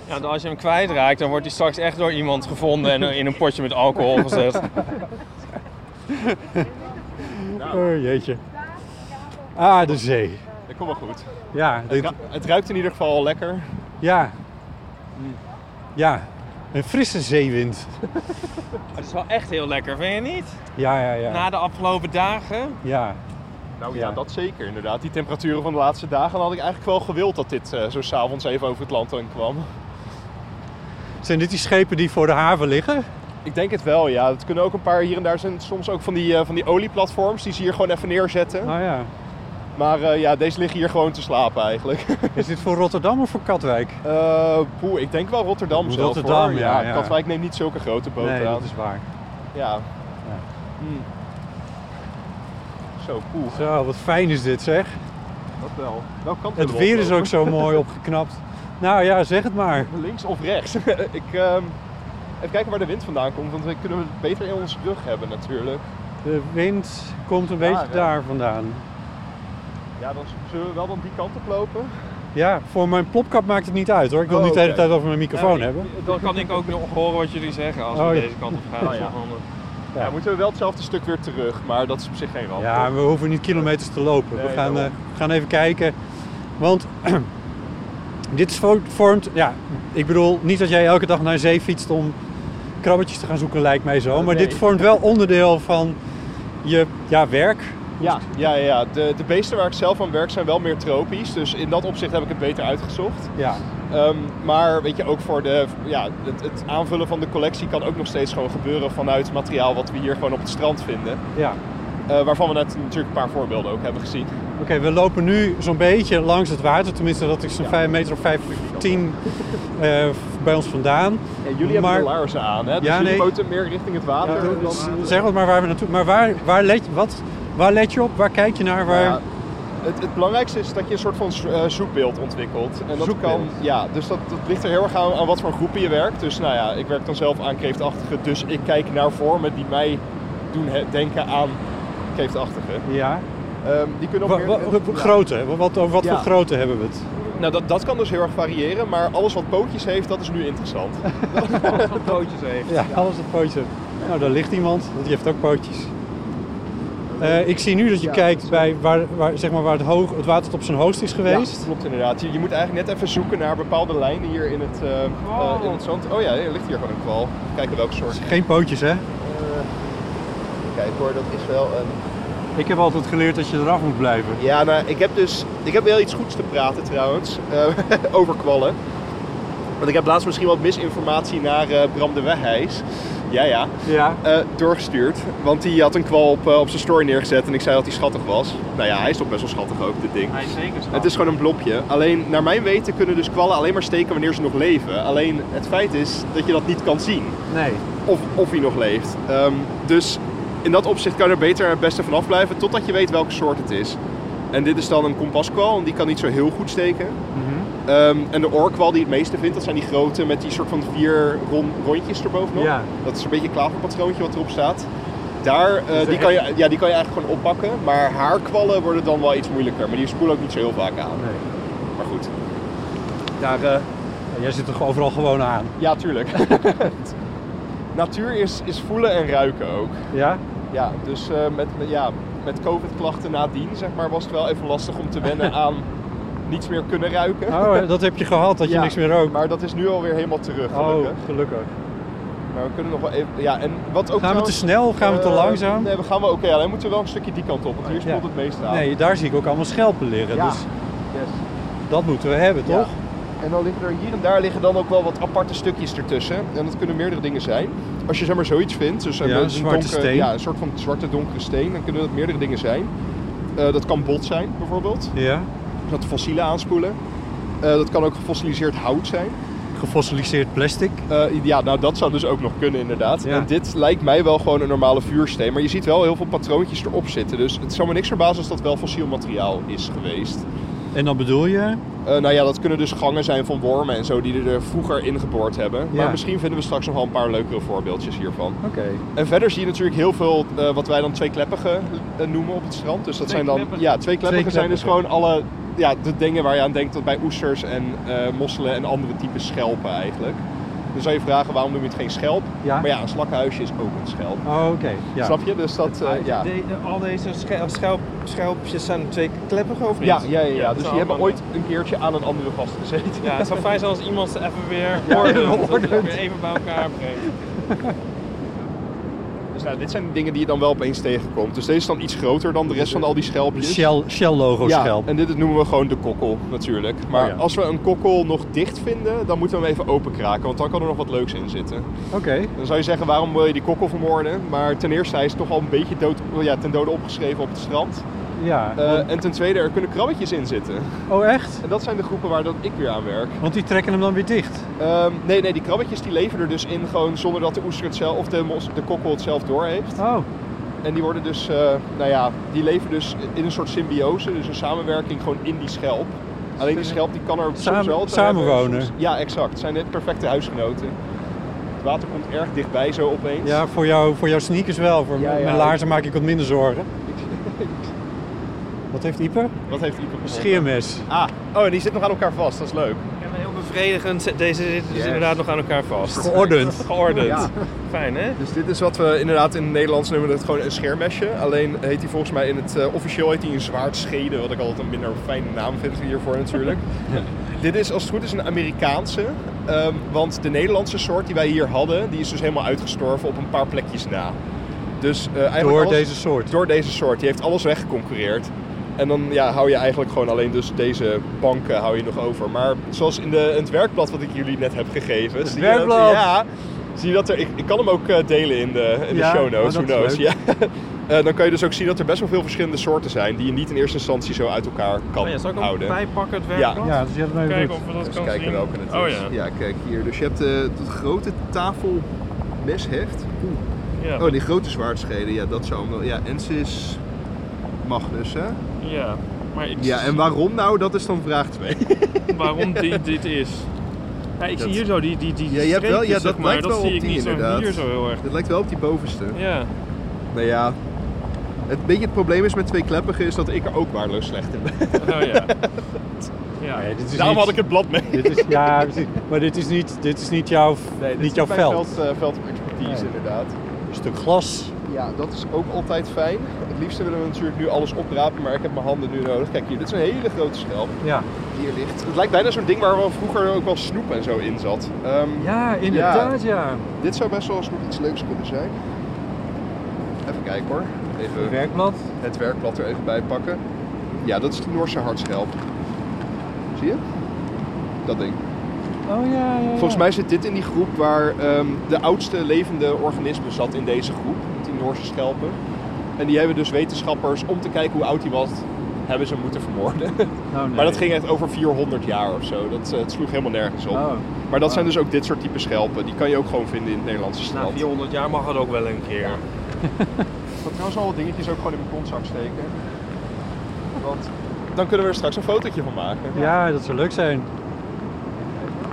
Ja, als je hem kwijtraakt, dan wordt hij straks echt door iemand gevonden en eh, in een potje met alcohol gezet.
Oh jeetje. Ah, de zee.
Dat komt wel goed.
Ja, dit-
Ja, het ruikt in ieder geval lekker.
ja. Ja, een frisse zeewind.
Het is wel echt heel lekker, vind je niet?
Ja, ja, ja.
Na de afgelopen dagen.
Ja,
Nou
Ja.
ja, dat zeker inderdaad. Die temperaturen van de laatste dagen had ik eigenlijk wel gewild dat dit eh, zo s'avonds even over het land heen kwam.
zijn dit die schepen die voor de haven liggen?
Ik denk het wel, ja. Het kunnen ook een paar hier en daar zijn soms ook van die, eh, van die olieplatforms die ze hier gewoon even neerzetten.
Nou ja.
Maar eh, ja, deze liggen hier gewoon te slapen eigenlijk.
Is dit voor Rotterdam of voor Katwijk?
Eh poeh, ik denk wel Rotterdam zelf
Rotterdam,
hoor.
ja, ja.
Katwijk neemt niet zulke grote boten
Nee,
aan.
dat is waar.
Ja. Hmm. Zo, poeh,
Zo, wat fijn is dit zeg.
dat wel. Welke kant
Het
willen we
weer is
oplopen?
ook zo mooi opgeknapt. Nou ja, zeg het maar.
Links of rechts? ik, ehm, even kijken waar de wind vandaan komt, want we kunnen het beter in onze rug hebben natuurlijk.
De wind komt een beetje
Daar, hè?
daar vandaan.
Ja, dan z- zullen we wel dan die kant op lopen.
Ja, voor mijn plopkap maakt het niet uit hoor. Ik wil
Oh,
niet de hele
oké.
tijd over mijn microfoon
Ja,
hebben.
Dan kan ik ook nog horen wat jullie zeggen als we
Oh, ja.
deze kant op gaan. eh,
Oh, ja. Ja, moeten we wel hetzelfde stuk weer terug, maar dat is op zich geen ramp.
Ja, we hoeven niet kilometers te lopen. we
Nee,
gaan,
daarom.
eh, gaan even kijken. Want dit is vo- vormt. Ja, ik bedoel, niet dat jij elke dag naar zee fietst om krabbetjes te gaan zoeken, lijkt mij zo. Maar
Nee.
dit vormt wel onderdeel van je ja, werk.
Ja, ja, ja, ja. De, de beesten waar ik zelf aan werk zijn wel meer tropisch. Dus in dat opzicht heb ik het beter uitgezocht.
Ja.
Ehm, maar weet je, ook voor de, ja, het, het aanvullen van de collectie kan ook nog steeds gewoon gebeuren vanuit materiaal wat we hier gewoon op het strand vinden.
ja.
Eh, waarvan we net natuurlijk een paar voorbeelden ook hebben gezien.
Oké, we lopen nu zo'n beetje langs het water. Tenminste, dat is een
Ja.
vijf meter of 15 eh bij ons vandaan.
Ja, jullie
Maar-
hebben de laarzen aan, hè? Dus
Ja,
jullie
nee.
poten meer richting het water. Dus,
Ja,
en dan-
zeg het maar waar we naartoe. Maar waar, waar, let, wat, waar let je op? Waar kijk je naar? Waar...
Ja, eh, het, het belangrijkste is dat je een soort van zo- eh, zoekbeeld ontwikkelt. En dat
Zoekbeeld.
kan, ja, dus dat, dat ligt er heel erg aan, aan wat voor groepen je werkt. Dus nou ja, ik werk dan zelf aan kreeftachtigen, dus ik kijk naar vormen die mij doen he- denken aan kreeftachtigen.
Ja.
Ehm, die kunnen op
Wa- wa-
meer-
wa-
ja.
grootte, wa- wat, over wat
Ja.
voor grootte hebben we het?
Nou, dat, dat kan dus heel erg variëren, maar alles wat pootjes heeft, dat is nu interessant. alles wat pootjes heeft.
Ja, alles op pootjes. Nou, daar ligt iemand, want die heeft ook pootjes. Eh, ik zie nu dat je
Ja,
kijkt bij waar, waar, zeg maar waar het, hoog, het water tot op zijn hoogst is geweest.
Ja, klopt inderdaad. Je, je moet eigenlijk net even zoeken naar bepaalde lijnen hier in het, eh, eh, in het zand. Oh ja, er ligt hier gewoon een kwal. Kijken welke soort.
Geen pootjes, hè?
Kijk hoor, dat is wel een...
Ik heb altijd geleerd dat je eraf moet blijven.
Ja, nou, ik heb dus... Ik heb wel iets goeds te praten trouwens, eh, over kwallen. Want ik heb laatst misschien wat misinformatie naar eh, Bram de Wegheis. Ja, ja.
Ja.
eh, doorgestuurd. Want die had een kwal op, eh, op zijn story neergezet en ik zei dat hij schattig was. Nou ja, hij is toch best wel schattig ook, dit ding.
is zeker schattig.
Het is gewoon een blobje. Alleen, naar mijn weten kunnen dus kwallen alleen maar steken wanneer ze nog leven. Alleen, het feit is dat je dat niet kan zien.
Nee.
Of, of hij nog leeft. Ehm, dus in dat opzicht kan je er beter en het beste vanaf blijven totdat je weet welke soort het is. En dit is dan een kompaskwal, en die kan niet zo heel goed steken.
Mhm.
Ehm, en de oorkwal die het meeste vindt, dat zijn die grote met die soort van vier ron- rondjes erbovenop.
Ja.
Dat is een beetje een klaverpatroontje wat erop staat. Daar, eh, die, kan je, ja, die kan je eigenlijk gewoon oppakken. Maar haar kwallen worden dan wel iets moeilijker. Maar die spoelen ook niet zo heel vaak aan. Maar goed. Daar, eh,
Jij zit toch overal gewoon aan?
ja, tuurlijk. Natuur is, is voelen en ruiken ook.
Ja?
Ja, dus eh, met, met- ja, met COVID-klachten nadien zeg maar, was het wel even lastig om te wennen aan niets meer kunnen ruiken.
Oh, dat heb je gehad, dat je
Ja,
niks meer rookt.
Maar dat is nu alweer helemaal terug.
Oh,
gelukkig.
gelukkig.
Maar we kunnen nog wel even. Ja, en wat ook
Gaan we te
trouwens-
snel? Gaan we te
eh,
langzaam?
Nee, we gaan wel oké. alleen moeten we wel een stukje die kant op, want hier speelt
Ja.
het meest aan.
Nee, daar zie ik ook allemaal schelpen liggen.
Ja.
Dus dat moeten we hebben,
Ja.
toch?
En dan liggen er hier en daar liggen dan ook wel wat aparte stukjes ertussen. En dat kunnen meerdere dingen zijn. Als je zeg maar zoiets vindt, dus een,
Ja,
een
zwarte
donkere-
steen.
ja, een soort van zwarte donkere steen, dan kunnen dat meerdere dingen zijn. Eh, dat kan bot zijn bijvoorbeeld,
Ja.
dus dat de fossielen aanspoelen. Eh, dat kan ook gefossiliseerd hout zijn.
Gefossiliseerd plastic.
Eh, ja, nou dat zou dus ook nog kunnen inderdaad.
Ja.
En dit lijkt mij wel gewoon een normale vuursteen. Maar je ziet wel heel veel patroontjes erop zitten. Dus het zou me niks verbazen als dat wel fossiel materiaal is geweest.
En dan bedoel je?
Eh, nou ja, dat kunnen dus gangen zijn van wormen en zo die er eh, vroeger ingeboord hebben. Maar
Ja.
misschien vinden we straks nog wel een paar leukere voorbeeldjes hiervan.
Oké.
En verder zie je natuurlijk heel veel eh, wat wij dan twee kleppigen eh, noemen op het strand. Dus dat zijn dan. Ja, twee kleppigen zijn dus gewoon alle. Ja, de dingen waar je aan denkt dat bij oesters en eh, mosselen en andere typen schelpen eigenlijk. Dan zou je vragen waarom noem je het geen schelp?
Ja.
Maar ja, een slakkenhuisje is ook een schelp.
Oh, oké. Ja.
Snap je? Dus dat. eh, ja.
al deze schelpjes zijn twee kleppen of niet?
Ja, ja, ja, ja. Dus
zou
die hebben
allemaal-
ooit een keertje aan een andere vastgezeten.
Ja, het zou fijn zijn als iemand ze even weer ordent. dat je ze weer even bij elkaar brengt.
Dus nou, dit zijn de dingen die je dan wel opeens tegenkomt. Dus deze is dan iets groter dan de rest van al die
De
schelpjes.
dus? Shell, Shell logo
Ja,
schelp.
en dit noemen we gewoon de kokkel natuurlijk. Maar
Oh ja.
als we een kokkel nog dicht vinden, dan moeten we hem even openkraken. Want dan kan er nog wat leuks in zitten.
Oké.
Dan zou je zeggen, waarom wil je die kokkel vermoorden? Maar ten eerste, hij is toch al een beetje dood, oh ja, ten dode opgeschreven op het strand.
Ja.
Eh, en ten tweede, er kunnen krabbetjes in zitten.
oh, echt?
En dat zijn de groepen waar dat ik weer aan werk.
Want die trekken hem dan weer dicht.
Ehm, nee, nee, die krabbetjes die leven er dus in gewoon zonder dat de oester het zelf, of de, mos, de kokkel het zelf doorheeft.
Oh.
En die worden dus, eh, nou ja, die leven dus in een soort symbiose, dus een samenwerking gewoon in die schelp. Alleen die schelp die kan er soms
Samen-
wel te
samenwonen.
hebben, soms- Ja, exact. Het zijn net perfecte huisgenoten. Het water komt erg dichtbij zo opeens.
Ja, voor, jou, voor jouw sneakers wel. Voor
Ja,
mijn-
ja.
mijn laarzen maak ik wat minder zorgen. Wat heeft Ieper?
Wat heeft Ipe gevonden?
Scheermes.
Ah, oh, en die zit nog aan elkaar vast. Dat is leuk.
Heel bevredigend. Deze zitten dus
Yes.
inderdaad nog aan elkaar vast.
Geordend.
Geordend.
Ja.
Fijn hè?
Dus dit is wat we inderdaad in het Nederlands noemen het gewoon een scheermesje. Alleen heet hij volgens mij in het eh, officieel heet hij een zwaardschede, wat ik altijd een minder fijne naam vind hiervoor natuurlijk. Dit is als het goed is een Amerikaanse, ehm, want de Nederlandse soort die wij hier hadden, die is dus helemaal uitgestorven op een paar plekjes na. Dus, eh, eigenlijk
Door
alles-
deze soort.
Door deze soort. Die heeft alles weggeconcurreerd. En dan ja, hou je eigenlijk gewoon alleen dus deze banken hou je nog over. Maar zoals in, de, in het werkblad wat ik jullie net heb gegeven. zie je dat-
werkblad!
ja, zie je dat er... Ik, ik kan hem ook eh, delen in de, in
Ja,
de show notes.
oh,
Who
dat is
knows? Ja. Eh, dan kan je dus ook zien dat er best wel veel verschillende soorten zijn... die je niet in eerste instantie zo uit elkaar kan
Oh ja, zal ik hem
houden.
bijpakken het werk?
Ja.
Ja, dus je hebt hem even
Kijken
goed.
of we dat
Eens
kan
kijken
zien.
welke het is.
oh ja.
kijk hier. Dus je hebt eh, het grote tafelmesheft. Oeh.
Ja.
Oh, die grote zwaardscheden, ja, dat zou hem wel. Ja, Ensis Magnus, hè?
ja. Maar ik,
Ja, en waarom nou? Dat is dan vraag 2.
waarom die, dit is? Ja, ik zie hier zo die, die, die
Ja, je hebt wel- ja,
streepjes,
dat
zeg maar.
lijkt
dat
wel
zie
op
ik
die
niet zo
inderdaad.
hier zo heel erg.
Dat lijkt wel op die bovenste.
Ja.
Nou ja, het beetje het probleem is met twee kleppigen is dat ik er ook waardeloos slecht in ben.
Oh ja. Ja.
Nee, Nou dit is
Daarom
niet-
had ik het blad mee.
Dit is, ja, precies. maar dit is niet, dit is niet jouw, niet jouw veld.
eh, expertise,
Nee.
inderdaad.
Een stuk glas.
Ja, dat is ook altijd fijn. Het liefste willen we natuurlijk nu alles oprapen, maar ik heb mijn handen nu nodig. Kijk hier, dit is een hele grote schelp
Ja,
die hier ligt. Het lijkt bijna zo'n ding waar wel vroeger ook wel snoep en zo in zat. Ehm,
Ja,
inderdaad,
ja.
Dit zou best wel eens nog iets leuks kunnen zijn. Even kijken hoor. Even
Werkblad.
het werkblad er even bij pakken. Ja, dat is de Noorse hartschelp. Zie je? Dat ding.
Oh ja, ja.
Volgens mij zit dit in die groep waar ehm, de oudste levende organisme zat in deze groep. Die Noorse schelpen. En die hebben dus wetenschappers, om te kijken hoe oud die was, hebben ze hem moeten vermoorden.
Nou,
Maar dat ging echt over 400 jaar of zo. Dat, eh, het sloeg helemaal nergens op. Maar dat zijn dus ook dit soort type schelpen. Die kan je ook gewoon vinden in het Nederlandse
Na
strand.
400 jaar mag het ook wel een keer.
Ik wil trouwens al wat Nou dingetjes ook gewoon in mijn kontzak steken. Want dan kunnen we er straks een fotootje van maken.
ja dat zou leuk zijn.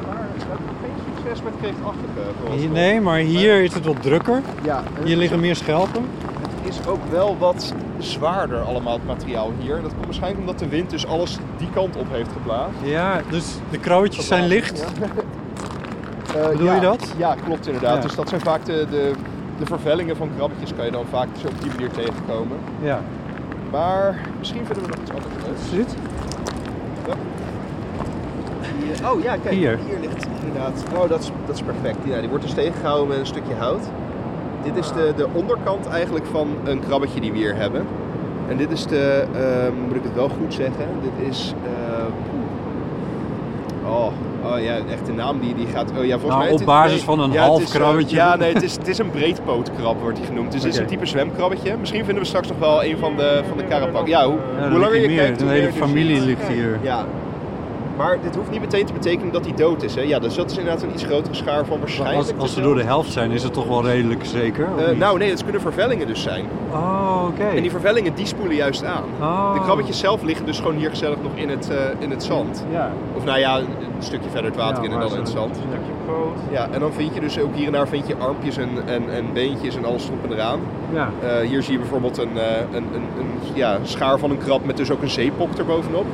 Maar we hebben geen succes met kreeftachtige. voor ons.
Hier- nee, maar hier is het wat drukker.
Ja, en
Hier
het
liggen meer schelpen.
is, het is ook wel wat zwaarder allemaal het materiaal hier. En dat komt waarschijnlijk omdat de wind dus alles die kant op heeft geplaatst.
Ja, dus de krauwtjes zijn licht.
Ja.
Bedoel
ja,
je dat?
Ja, klopt inderdaad.
Ja.
Dus dat zijn vaak de, de, de vervellingen van krabbetjes kan je dan vaak zo op die manier tegenkomen.
Ja.
Maar misschien vinden we nog iets anders leuks.
Zit?
Hier- Oh ja, kijk,
Hier.
hier, ligt inderdaad. Oh, dat is, dat is perfect. Ja, die wordt dus tegengehouden met een stukje hout. Dit is
Ah.
de, de onderkant eigenlijk van een krabbetje die we hier hebben. En dit is de, ehm, moet ik het wel goed zeggen? Dit is. eh, oh, oh ja, echt de naam die, die gaat. Oh, ja, volgens
Nou,
mij
op
het is-
basis
nee,
van een
ja,
half
het is, eh,
krabbetje.
ja, nee, het is, het is een breedpootkrab, wordt die genoemd. Dus het is
Oké.
een type zwemkrabbetje. Misschien vinden we straks nog wel een van de, van de karapak. Ja, hoe,
Ja,
hoe
dan
langer
ligt
je
hier meer.
kijkt,
De
hoe
hele
meer je er
familie
ziet.
ligt hier.
Ja. Maar dit hoeft niet meteen te betekenen dat hij dood is. Hè? Ja, dus dat is inderdaad een iets grotere schaar van waarschijnlijk.
Als, als ze door
dezelfde-
de helft zijn, is het toch wel redelijk zeker? of
Eh,
niet?
nou nee, het kunnen vervellingen dus zijn.
Oh, oké.
En die vervellingen die spoelen juist aan.
Oh.
De krabbetjes zelf liggen dus gewoon hier gezellig nog in het, eh, in het zand.
Ja.
Of nou ja, een een stukje verder het
Ja,
water in en
waar
dan in het
ze-
zand. Ja, en dan vind je dus ook hier en daar vind je armpjes en, en, en beentjes en alles erop en eraan.
Ja.
Eh, hier zie je bijvoorbeeld een, eh, een, een, een ja, schaar van een krab met dus ook een zeepok erbovenop.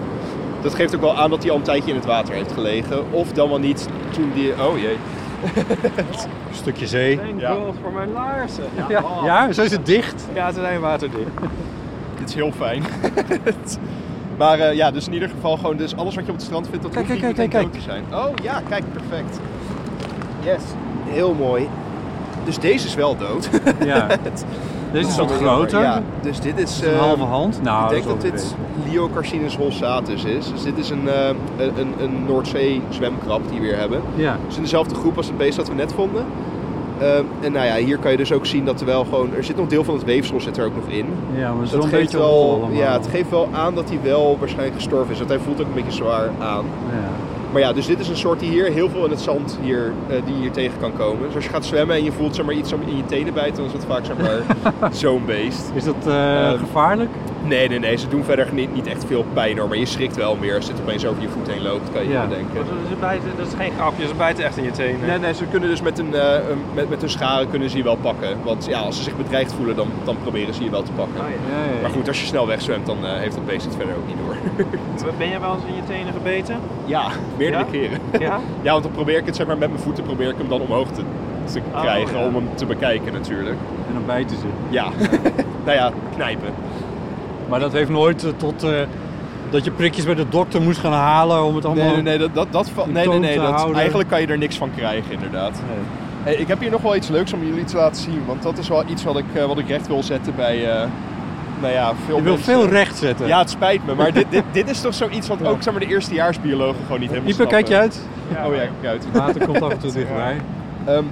Dat geeft ook wel aan dat hij al een tijdje in het water heeft gelegen. Of dan wel niet toen die... Oh jee.
Een stukje zee.
Mijn
Ja.
god, voor mijn laarzen.
Ja, Oh. ja zo is het dicht.
Ja, ze zijn waterdicht.
Dit is heel fijn. maar eh, ja, dus in ieder geval gewoon dus alles wat je op het strand vindt, dat
Kijk,
hoeft
kijk,
niet
kijk,
meteen dood te zijn. Oh ja, kijk, perfect. Yes, heel mooi. Dus deze is wel dood.
Ja. Deze is wat groter.
Ja, dus dit is...
Een
eh,
halve hand. Nou,
Ik denk
dat
dat
is wel
dit
een
Liocarcinus holsatus is. Dus dit is een, eh, een, een- een Noordzee zwemkrab die we weer hebben.
beetje. Ja.
Het is in dezelfde groep als het beest dat we net vonden. Ehm, en nou ja, hier kan je dus ook zien dat er wel gewoon... Er zit nog deel van het weefsel zit er ook nog in.
Ja, maar
Dat
zo'n
geeft
beetje
wel-
rol allemaal.
Ja, het geeft wel aan dat hij wel waarschijnlijk gestorven is. Want hij voelt ook een beetje zwaar aan.
Ja.
Maar ja, dus dit is een soort die hier heel veel in het zand hier, eh, die je hier tegen kan komen. Dus als je gaat zwemmen en je voelt zeg maar, iets om in je tenen bijten, dan is dat vaak zeg maar, zo'n beest.
Is dat eh,
Eh,
gevaarlijk?
Nee, nee, nee. Ze doen verder niet, niet echt veel pijn hoor. Maar je schrikt wel meer als het opeens over je voet heen loopt, kan je
Ja.
je bedenken.
Ze bijten, dat is geen grapje, ze bijten echt in je tenen.
Nee, nee, ze kunnen dus met hun, eh, een- met, met hun scharen kunnen ze je wel pakken. Want ja, als ze zich bedreigd voelen, dan, dan proberen ze je wel te pakken.
Oh Ja, ja,
Maar goed, als je snel wegzwemt, dan eh, heeft dat beest het verder ook niet door.
Ben jij wel eens in je tenen gebeten?
ja, meerdere
Ja?
keren.
Ja?
Ja, want dan probeer ik het zeg maar met mijn voeten probeer ik hem dan omhoog te, te
Oh,
krijgen
ja.
om hem te bekijken natuurlijk.
En dan bijten ze.
Ja, nou ja, knijpen.
Maar dat heeft nooit eh, tot eh, dat je prikjes bij de dokter moest gaan halen om het allemaal...
Nee, nee, nee, dat, dat, dat, val-
in
nee, nee,
toon
nee
te
dat,
houden.
eigenlijk kan je er niks van krijgen inderdaad. Hey, ik heb hier nog wel iets leuks om jullie te laten zien. Want dat is wel iets wat ik, eh, wat ik recht wil zetten bij eh, nou ja, veel
Je wil
mensen.
veel recht zetten.
Ja, het spijt me. Maar dit, dit, dit is toch zoiets wat ook zeg maar, de eerstejaarsbiologen gewoon niet helemaal
Ieper, kijk je
snappen.
uit.
Oh ja, kijk uit.
Water komt af en toe dichterbij.
Ehm,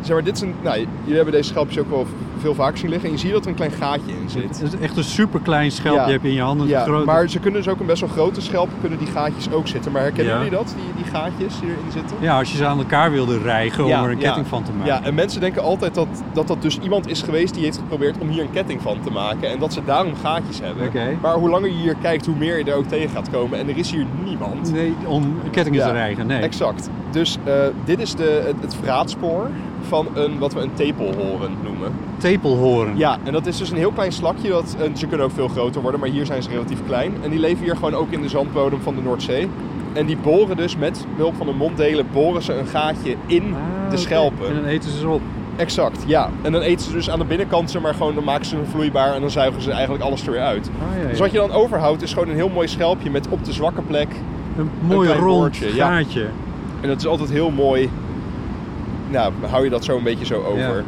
zeg maar, dit is een, nou, jullie hebben deze schelpjes ook wel veel vaker zien liggen. En je ziet dat er een klein gaatje in
Het
zit.
is echt een superklein schelpje
Ja.
heb je in je handen.
Ja,
Groot-
maar ze kunnen dus ook een best wel grote schelp, kunnen die gaatjes ook zitten. Maar herkennen
Ja.
jullie dat, die, die gaatjes die erin zitten?
ja, als je ze aan elkaar wilde rijgen om
Ja,
er een
ja.
ketting van te maken.
Ja, en mensen denken altijd dat, dat dat dus iemand is geweest die heeft geprobeerd om hier een ketting van te maken. En dat ze daarom gaatjes hebben.
Oké.
Maar hoe langer je hier kijkt, hoe meer je er ook tegen gaat komen. En er is hier niemand.
Nee, om kettingen
Ja,
te rijgen. Nee.
Exact. Dus eh, dit is de, het, het vraatspoor van een, wat we een tepelhoren noemen.
Tepelhoorn.
Ja, en dat is dus een heel klein slakje. Dat, en ze kunnen ook veel groter worden, maar hier zijn ze relatief klein. En die leven hier gewoon ook in de zandbodem van de Noordzee. En die boren dus met behulp van hun monddelen, boren ze een gaatje in
Ah, oké.
de schelpen.
En dan eten ze ze op.
Exact, ja. En dan eten ze dus aan de binnenkant, zeg maar gewoon, dan maken ze hem vloeibaar en dan zuigen ze eigenlijk alles er weer uit.
Ah, ja, ja.
Dus wat je dan overhoudt is gewoon een heel mooi schelpje met op de zwakke plek.
Een mooi
klein
rond
boordje, ja.
gaatje.
En dat is altijd heel mooi. Nou, hou je dat zo een beetje zo over.
Ja.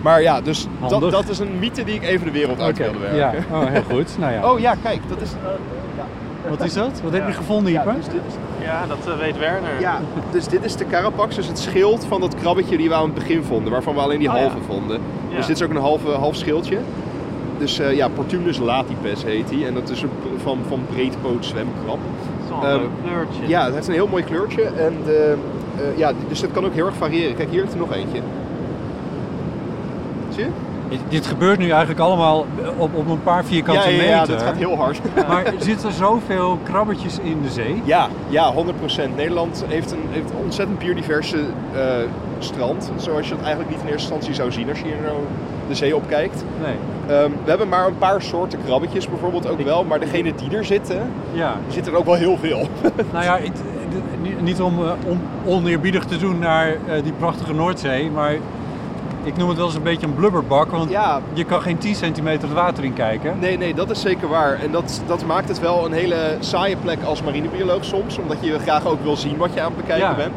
Maar ja, dus dat,
Handig.
dat is een mythe die ik even de wereld uit wilde werken.
Ja, oh, heel goed. Nou ja.
Oh ja, kijk, dat is. eh, ja.
Wat is dat? Wat heb je gevonden,
Ja,
Ieper?
dus dit is,
Ja, dat eh, weet Werner.
ja, dus dit is de carapax, dus het schild van dat krabbetje die we aan het begin vonden, waarvan we alleen die
Oh, ja.
halve vonden.
Ja.
Dus dit is ook een halve, half schildje. Dus eh, ja, Portunus latipes heet hij. En dat is een, pr- van, van breedpoot zwemkrab.
Dat is wel een
Ehm,
leuk kleurtje.
Ja, het heeft een heel mooi kleurtje. En de, eh, ja, dus dat kan ook heel erg variëren. Kijk, hier heeft er nog eentje. Zie je?
Dit- Dit gebeurt nu eigenlijk allemaal op, op een paar vierkante
ja, ja,
meter.
ja, dat gaat heel hard.
Maar zitten er zoveel krabbetjes in de zee?
Ja, ja, 100%. Nederland heeft een, heeft een ontzettend biodiverse eh, strand. Zoals je dat eigenlijk niet in eerste instantie zou zien als je hier nou de zee opkijkt.
Nee.
Ehm, we hebben maar een paar soorten krabbetjes bijvoorbeeld ook wel. Maar degene die er zitten,
Ja.
zitten er ook wel heel veel.
Nou ja, het- het- niet- niet om, eh, om oneerbiedig te doen naar eh, die prachtige Noordzee, maar ik noem het wel eens een beetje een blubberbak, want
Ja.
je kan geen 10 centimeter het water in kijken.
Nee, nee, dat is zeker waar. En dat, dat maakt het wel een hele saaie plek als marinebioloog soms. Omdat je graag ook wil zien wat je aan het bekijken
Ja.
bent.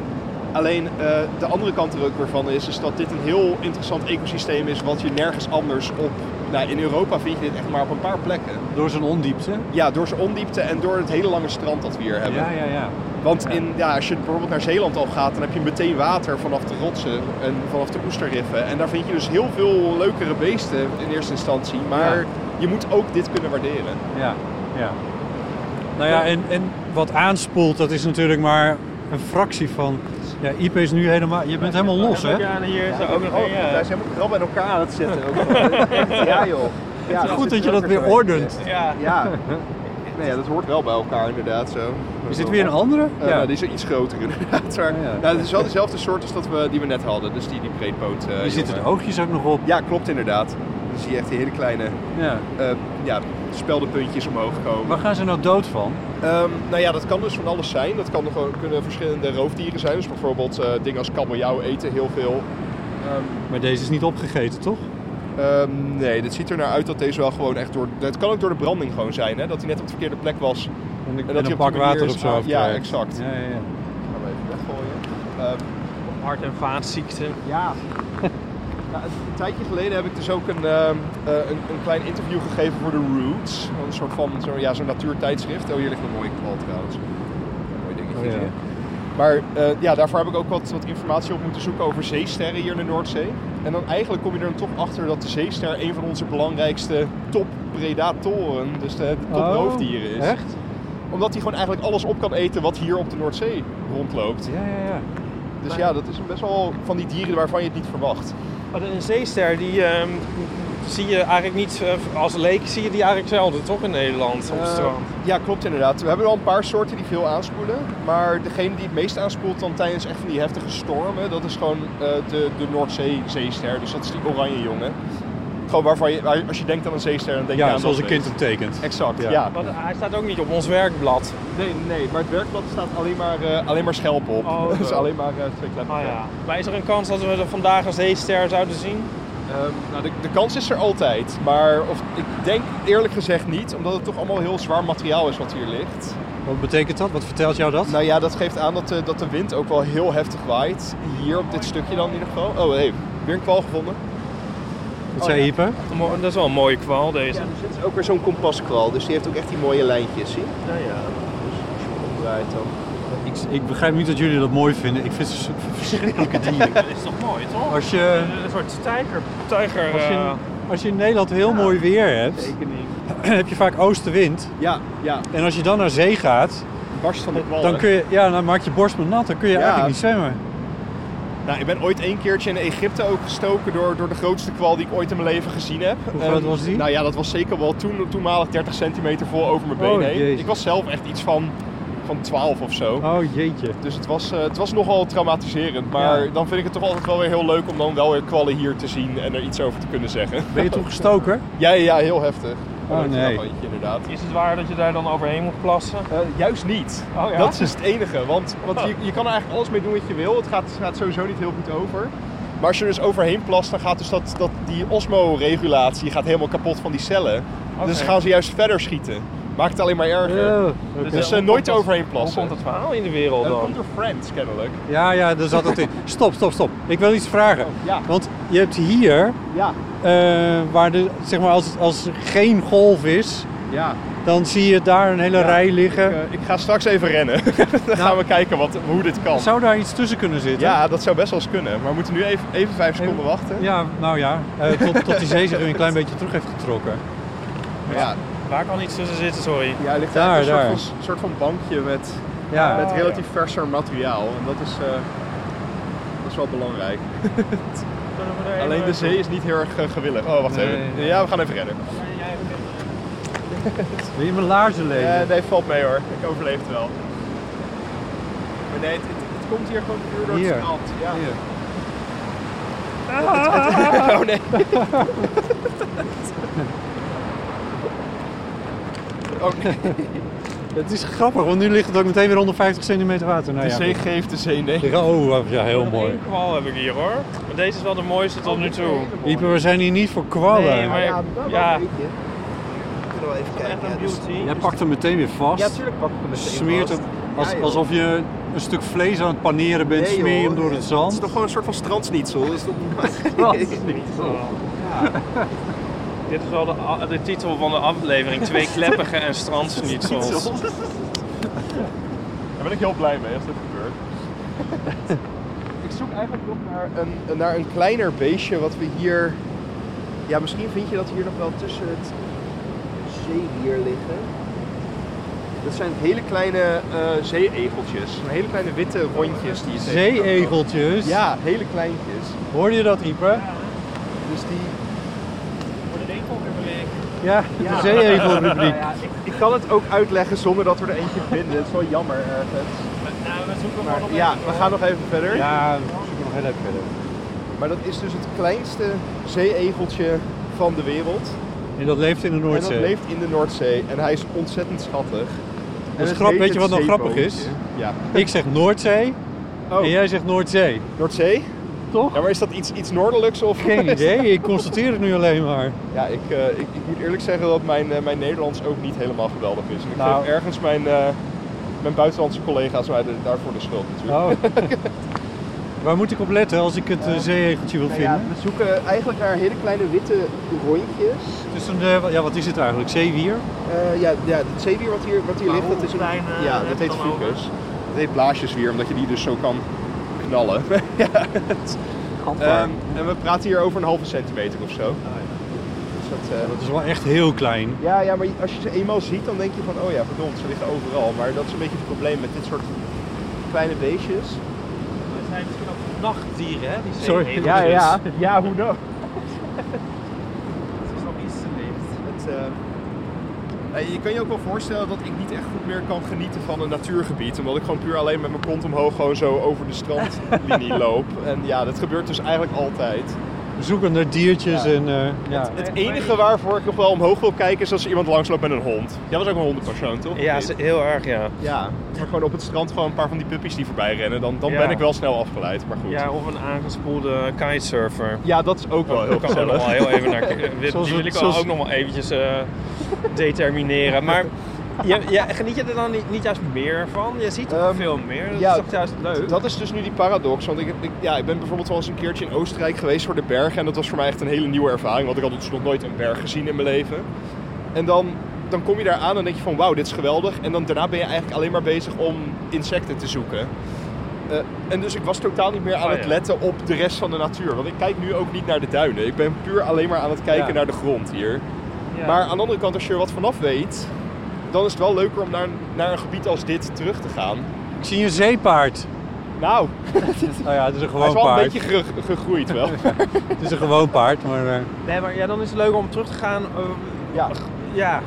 Alleen eh, de andere kant er ook weer van is, is dat dit een heel interessant ecosysteem is wat je nergens anders op... Nou, in Europa vind je dit echt maar op een paar plekken.
Door zijn ondiepte.
Ja, door zijn ondiepte en door het hele lange strand dat we hier hebben.
Ja, ja, ja.
Want in, ja, als je bijvoorbeeld naar Zeeland al gaat, dan heb je meteen water vanaf de rotsen en vanaf de oesterriffen. En daar vind je dus heel veel leukere beesten in eerste instantie. Maar
Ja.
je moet ook dit kunnen waarderen.
ja, ja. Nou ja, en, en wat aanspoelt, dat is natuurlijk maar een fractie van... Ja, IP is nu helemaal... Je bent helemaal los, hè?
Ja, oh. en hier is er ook nog een. ja.
helemaal krab bij elkaar aan het zetten. Ook ja joh. Ja,
Goed dat je dat weer ordent.
Ja.
Ja. Nee, ja, dat hoort wel bij elkaar inderdaad zo.
Is dit weer een andere?
Eh, nou, die is iets groter inderdaad. Maar,
Ja, ja.
Nou, het is wel dezelfde soort als dat we, die we net hadden. Dus die, die breedpoot. eh,
Hier zitten de
jongen.
oogjes ook nog op.
Ja, klopt inderdaad. Dan zie je echt die hele kleine
Ja.
eh ja, speldenpuntjes omhoog komen.
Waar gaan ze nou dood van?
Ehm, nou ja, dat kan dus van alles zijn. Dat kan gewoon, kunnen verschillende roofdieren zijn. Dus bijvoorbeeld eh, dingen als kabeljauw eten heel veel.
Maar deze is niet opgegeten, toch?
Ehm, nee, dit ziet er naar uit dat deze wel gewoon echt door... Het kan ook door de branding gewoon zijn, hè. Dat hij net op de verkeerde plek was.
En,
dat
en
je op
een
die
pak
manier
water
is
op zo
aan-
afkrijgt.
ja, exact.
Ja, ja, ja.
Gaan we even weggooien. Ehm,
Hart- en vaatziekten.
Ja. Ja, een tijdje geleden heb ik dus ook een, ehm, eh, een, een klein interview gegeven voor de Roots. Een soort van zo, ja, zo'n natuurtijdschrift. Oh, hier ligt een mooie kwal trouwens. Een mooi dingetje.
Oh, ja.
hier. Maar eh, ja, daarvoor heb ik ook wat, wat informatie op moeten zoeken over zeesterren hier in de Noordzee. En dan eigenlijk kom je er dan toch achter dat de zeester een van onze belangrijkste toppredatoren, dus de, de toproofdieren is.
Oh, Echt?
Omdat hij gewoon eigenlijk alles op kan eten wat hier op de Noordzee rondloopt.
Ja, ja, ja.
Dus ja, dat is best wel van die dieren waarvan je het niet verwacht.
Maar een zeester, die ehm, zie je eigenlijk niet, eh, als leek zie je die eigenlijk zelden, toch in Nederland op het
Eh,
strand?
ja, klopt inderdaad. We hebben wel een paar soorten die veel aanspoelen. Maar degene die het meest aanspoelt dan tijdens echt van die heftige stormen, dat is gewoon eh, de, de Noordzee-zeester. Dus dat is die oranje jongen. Gewoon waarvan je, waar- als je denkt aan een zeester, dan denk je
Ja,
aan
zoals een
dat
kind
beest.
hem tekent.
Exact, ja.
Want hij staat ook niet op ons werkblad.
Nee, nee, maar het werkblad staat alleen maar, eh, alleen maar schelpen op.
Oh,
dus
zo.
alleen maar eh, twee kleppen.
Maar is er een kans dat we er vandaag een zeester zouden zien?
Ehm, nou, de, de kans is er altijd, maar of, ik denk eerlijk gezegd niet, omdat het toch allemaal heel zwaar materiaal is wat hier ligt.
Wat betekent dat? Wat vertelt jou dat?
Nou ja, dat geeft aan dat de, dat de wind ook wel heel heftig waait. Hier op dit stukje dan in ieder geval. Oh, hey, weer een kwal gevonden.
Wat zei Ieper?
Dat is wel een mooie kwaal
Ja,
deze.
er zit ook weer zo'n kompaskwal, dus die heeft ook echt die mooie lijntjes, zie Nou ja, dus als je hem omdraait dan...
Ik, ik begrijp niet dat jullie dat mooi vinden. Ik vind ze verschrikkelijke dieren.
Dat is toch mooi, toch?
Als je,
Een soort tijger. Tijger.
als je, als je in Nederland heel mooi weer hebt, heb je vaak oostenwind.
Ja, ja,
En als je dan naar zee gaat,
barst van de kwal.
dan, kun je, ja, dan maak je borst maar nat. Dan kun je
Oh. Ja.
eigenlijk niet zwemmen.
Nou, ik ben ooit één keertje in Egypte ook gestoken door, door de grootste kwal die ik ooit in mijn leven gezien heb.
Hoe
Ehm,
groot was die?
Nou ja, dat was zeker wel toen, toenmalig 30 centimeter vol over mijn been
Oh,
heen.
jezus.
Ik was zelf echt iets van, van 12 of zo.
Oh jeetje.
Dus het was, eh, het was nogal traumatiserend. Maar
Ja.
dan vind ik het toch altijd wel weer heel leuk om dan wel weer kwallen hier te zien en er iets over te kunnen zeggen.
Ben je toen gestoken?
Ja, ja, heel heftig.
Oh,
Een
nee.
randje, inderdaad.
Is het waar dat je daar dan overheen moet plassen?
Eh, juist niet.
Oh ja?
Dat is dus het enige. Want, want je, je kan er eigenlijk alles mee doen wat je wil. Het gaat, gaat sowieso niet heel goed over. Maar als je er dus overheen plast, dan gaat dus dat, dat, die osmoregulatie gaat helemaal kapot van die cellen. Dus gaan ze juist verder schieten. Maakt het alleen maar erger.
Ja,
Dus,
Dus
eh,
eh,
hoe
nooit
komt dat-
overheen
Hoe
plassen.
komt dat verhaal in de wereld
Eh, dat
dan?
komt door Friends kennelijk.
ja, ja, daar zat het in. Stop, stop, stop. Ik wil iets vragen.
Oh, ja.
Want je hebt hier,
Ja,
eh, waar de, zeg maar als, als er geen golf is,
ja.
dan zie je daar een hele rij liggen.
Ik, eh, ik ga straks even rennen. dan gaan we kijken wat, hoe dit kan.
Nou. Zou daar iets tussen kunnen zitten?
eh, Ja, dat zou best wel eens kunnen. Maar we moeten nu even, even vijf seconden wachten.
Ja, nou ja. Eh, tot, tot die zee zich weer een klein beetje terug heeft getrokken.
ja.
Waar kan iets tussen zitten, sorry?
Ja, er ligt
Daar,
eigenlijk een
daar.
Soort, van, soort van bankje met,
Ja.
met relatief verser materiaal. En dat is, eh, dat is wel belangrijk. Alleen
dus-
de zee is niet heel erg eh, gewillig. Oh, wacht even.
nee.
Ja, we gaan even redden.
Wil je mijn laarzen lezen?
Eh, nee, valt mee hoor. Ik overleef het wel. Maar nee, het, het, het komt hier gewoon puur door
Hier.
het strand. Ja.
Hier.
Oh nee. oh nee.
Het is grappig, want nu ligt het ook meteen weer onder 50 centimeter water. Nou,
De
ja,
zee
goed.
geeft, de zee neemt.
Oh, ja, heel mooi.
Eén kwal heb ik hier hoor. Maar deze is wel de mooiste tot nu toe.
Ieper, we zijn hier niet voor kwallen.
Nee, maar ja, ja,
wel even kijken.
Jij pakt hem meteen weer vast.
pak ik hem meteen
smeert
vast.
hem als,
Ja, joh.
alsof je een stuk vlees aan het paneren bent.
Nee,
smeer je hem
joh.
door het
Het is
zand.
toch gewoon een soort van strandsnietsel? Dat is toch niet
dit is wel de, a- de titel van de aflevering. Twee kleppige en strandsnietsels.
Daar ben ik heel blij mee als dit gebeurt. ik zoek eigenlijk nog naar een, naar een kleiner beestje wat we hier... Ja, misschien vind je dat hier nog wel tussen het zeewier liggen. Dat zijn hele kleine eh zeeegeltjes. Hele kleine witte rondjes die je tegen kan komen.
Zeeegeltjes.
Ja, hele kleintjes.
Hoorde je dat, Ieper?
Dus die,
Ja, de zeeegelrubriek.
ik, ik kan het ook uitleggen zonder dat we er eentje vinden. Het is wel jammer ergens. Maar ja, we gaan nog even verder.
Ja, we zoeken nog heel even verder.
Maar dat is dus het kleinste zeeegeltje van de wereld.
En dat leeft in de
En
Noordzee.
dat leeft in de Noordzee. En hij is ontzettend schattig. En
is
het
grap-
heet
weet je
het Oh.
wat nou grappig is?
zeeboontje. Ja.
Ik zeg Noordzee en jij zegt Noordzee.
Noordzee?
Toch?
Ja, maar is dat iets, iets noordelijks? Of...
Geen idee, ik constateer het nu alleen maar.
Ja, ik, eh, ik, ik moet eerlijk zeggen dat mijn, eh, mijn Nederlands ook niet helemaal geweldig is. En ik
Nou.
geef ergens mijn, eh, mijn buitenlandse collega's mij de- daarvoor de schuld natuurlijk.
Oh. Waar moet ik op letten als ik het eh, zeeegeltje wil
Nou ja,
vinden?
we zoeken eigenlijk naar hele kleine witte rondjes.
Tussen de, ja, wat is het eigenlijk? Zeewier?
Eh, ja, ja, het zeewier wat hier, wat hier ligt, dat is een... ja, dat heet fucus. Dat heet blaasjeswier, omdat je die dus zo kan knallen. ja. Ehm, en we praten hier over een halve centimeter of zo. Dus dat, eh,
Dat is wel echt heel klein.
ja, ja, maar als je ze eenmaal ziet, dan denk je van, oh ja, verdomd, ze liggen overal. Maar dat is een beetje het probleem met dit soort kleine beestjes.
Het zijn misschien ook nachtdieren, hè? Die
Sorry.
zeeegeltjes.
Ja, ja.
Ja, hoe dan?
Het is nog iets te licht.
Het, eh, eh, je kan je ook wel voorstellen dat ik niet echt goed meer kan genieten van een natuurgebied. Omdat ik gewoon puur alleen met mijn kont omhoog gewoon zo over de strandlinie loop. En ja, dat gebeurt dus eigenlijk altijd.
zoekende diertjes. En, eh, ja.
Het enige waarvoor ik op wel omhoog wil kijken is als er iemand langs loopt met een hond. Jij was ook een hondenpersoon, toch?
Ja, ze- heel erg, ja.
Ja, maar gewoon op het strand gewoon een paar van die puppies die voorbij rennen. Dan, dan
Ja.
ben ik wel snel afgeleid, maar goed.
Ja,
Ja,
of een aangespoelde kitesurfer.
dat is ook wel heel
Daar kan ik ook nog
gezellig.
wel heel even naar kijken. Die
Zoals we-
wil ik wel
zoals-
ook nog wel eventjes eh, determineren. Maar ja, ja, geniet je er dan niet, niet juist meer van? Je ziet er
Ehm,
veel meer. Dat
ja,
is toch juist leuk?
Dat is dus nu die paradox. Want ik, ik- ja, ik ben bijvoorbeeld wel eens een keertje in Oostenrijk geweest voor de bergen. En dat was voor mij echt een hele nieuwe ervaring. Want ik had dus nog nooit een berg gezien in mijn leven. En dan, dan kom je daar aan en denk je van wauw, dit is geweldig. En dan daarna ben je eigenlijk alleen maar bezig om insecten te zoeken. Eh, en dus ik was totaal niet meer aan
Oh,
het
ja.
letten op de rest van de natuur. Want ik kijk nu ook niet naar de duinen. Ik ben puur alleen maar aan het kijken
Ja.
naar de grond hier.
Ja.
Maar aan de andere kant, als je er wat vanaf weet, dan is het wel leuker om naar, naar een gebied als dit terug te gaan.
Ik zie een zeepaard.
Nou,
Nou ja, het is een
hij
gewoon
is wel
paard.
een beetje ge- gegroeid wel.
Het is een gewoon paard, maar eh,
Nee, maar ja, dan is het leuk om terug te gaan. eh,
ja.
ja.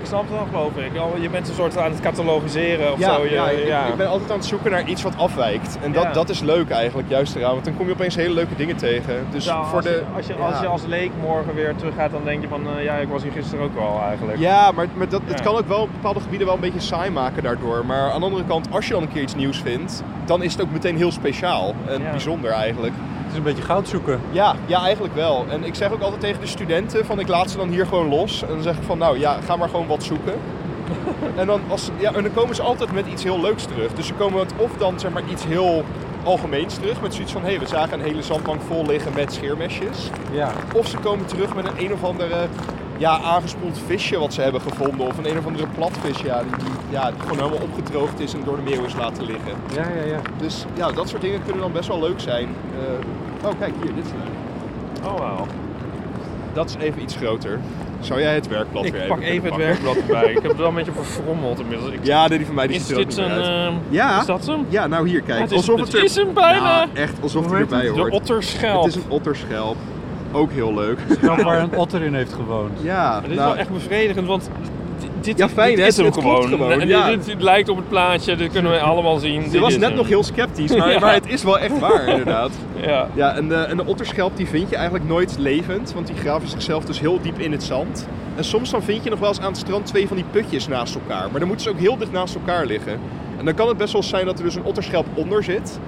Ik snap het wel, geloof ik. Al- Je bent een soort aan het catalogiseren of
Ja,
zo. Je-
ja, ik,
ja.
ik ben altijd aan het zoeken naar iets wat afwijkt. En dat,
Ja.
dat is leuk eigenlijk, juist eraan. Want dan kom je opeens hele leuke dingen tegen. Dus
Nou,
voor
als,
de...
je, als, je, als
ja.
je als leek morgen weer terug gaat, dan denk je van... eh, ja, ik was hier gisteren ook al eigenlijk.
Ja, maar, maar dat, het
Ja.
kan ook wel bepaalde gebieden wel een beetje saai maken daardoor. Maar aan de andere kant, als je dan een keer iets nieuws vindt, dan is het ook meteen heel speciaal en
Ja.
bijzonder eigenlijk.
het is een beetje goud zoeken.
Ja, ja, eigenlijk wel. En ik zeg ook altijd tegen de studenten van ik laat ze dan hier gewoon los. En dan zeg ik van nou ja, ga maar gewoon wat zoeken. en, dan als, ja, en dan komen ze altijd met iets heel leuks terug. Dus ze komen het of dan zeg maar iets heel algemeens terug. Met zoiets van hé, hey, we zagen een hele zandbank vol liggen met scheermesjes.
Ja.
Of ze komen terug met een een of andere ja, aangespoeld visje wat ze hebben gevonden. Of een een of andere platvis ja, die, die, ja, die gewoon helemaal opgedroogd is en door de meeuw is laten liggen.
Ja, ja, ja.
Dus ja, dat soort dingen kunnen dan best wel leuk zijn. Eh, oh, kijk hier, dit is leuk.
Oh, wauw.
Dat is even iets groter. Zou jij het werkblad weer
Ik
even
pak
kunnen
even het
pakken?
werkblad erbij. Ik heb het wel een beetje verfrommeld inmiddels. Ik-
Ja, die van mij die
is
ziet er ook
dit
niet
een...
meer uit.
ehm,
Ja.
Is dat hem?
Ja, nou hier, kijk.
het is,
alsof
het
het er...
is hem bijna.
Ja, echt, alsof het
heet
erbij
de
hoort.
otterschelp.
Het is een otterschelp. Ook heel leuk.
Dan waar een otter in heeft gewoond.
Ja,
Maar dit is
nou,
wel echt bevredigend, want d- dit,
Ja, fijn,
dit
hè?
is hem
Het klopt
gewoon.
gewoon,
En
ja.
dit, dit lijkt op het plaatje, dit kunnen we allemaal zien.
Je
Dit
was
is
net
hem.
nog heel sceptisch, maar,
Ja.
maar het is wel echt waar, inderdaad.
Ja.
Ja, en de, en de otterschelp die vind je eigenlijk nooit levend, want die graven zichzelf dus heel diep in het zand. En soms dan vind je nog wel eens aan het strand twee van die putjes naast elkaar, maar dan moeten ze ook heel dicht naast elkaar liggen. En dan kan het best wel eens zijn dat er dus een otterschelp onder zit.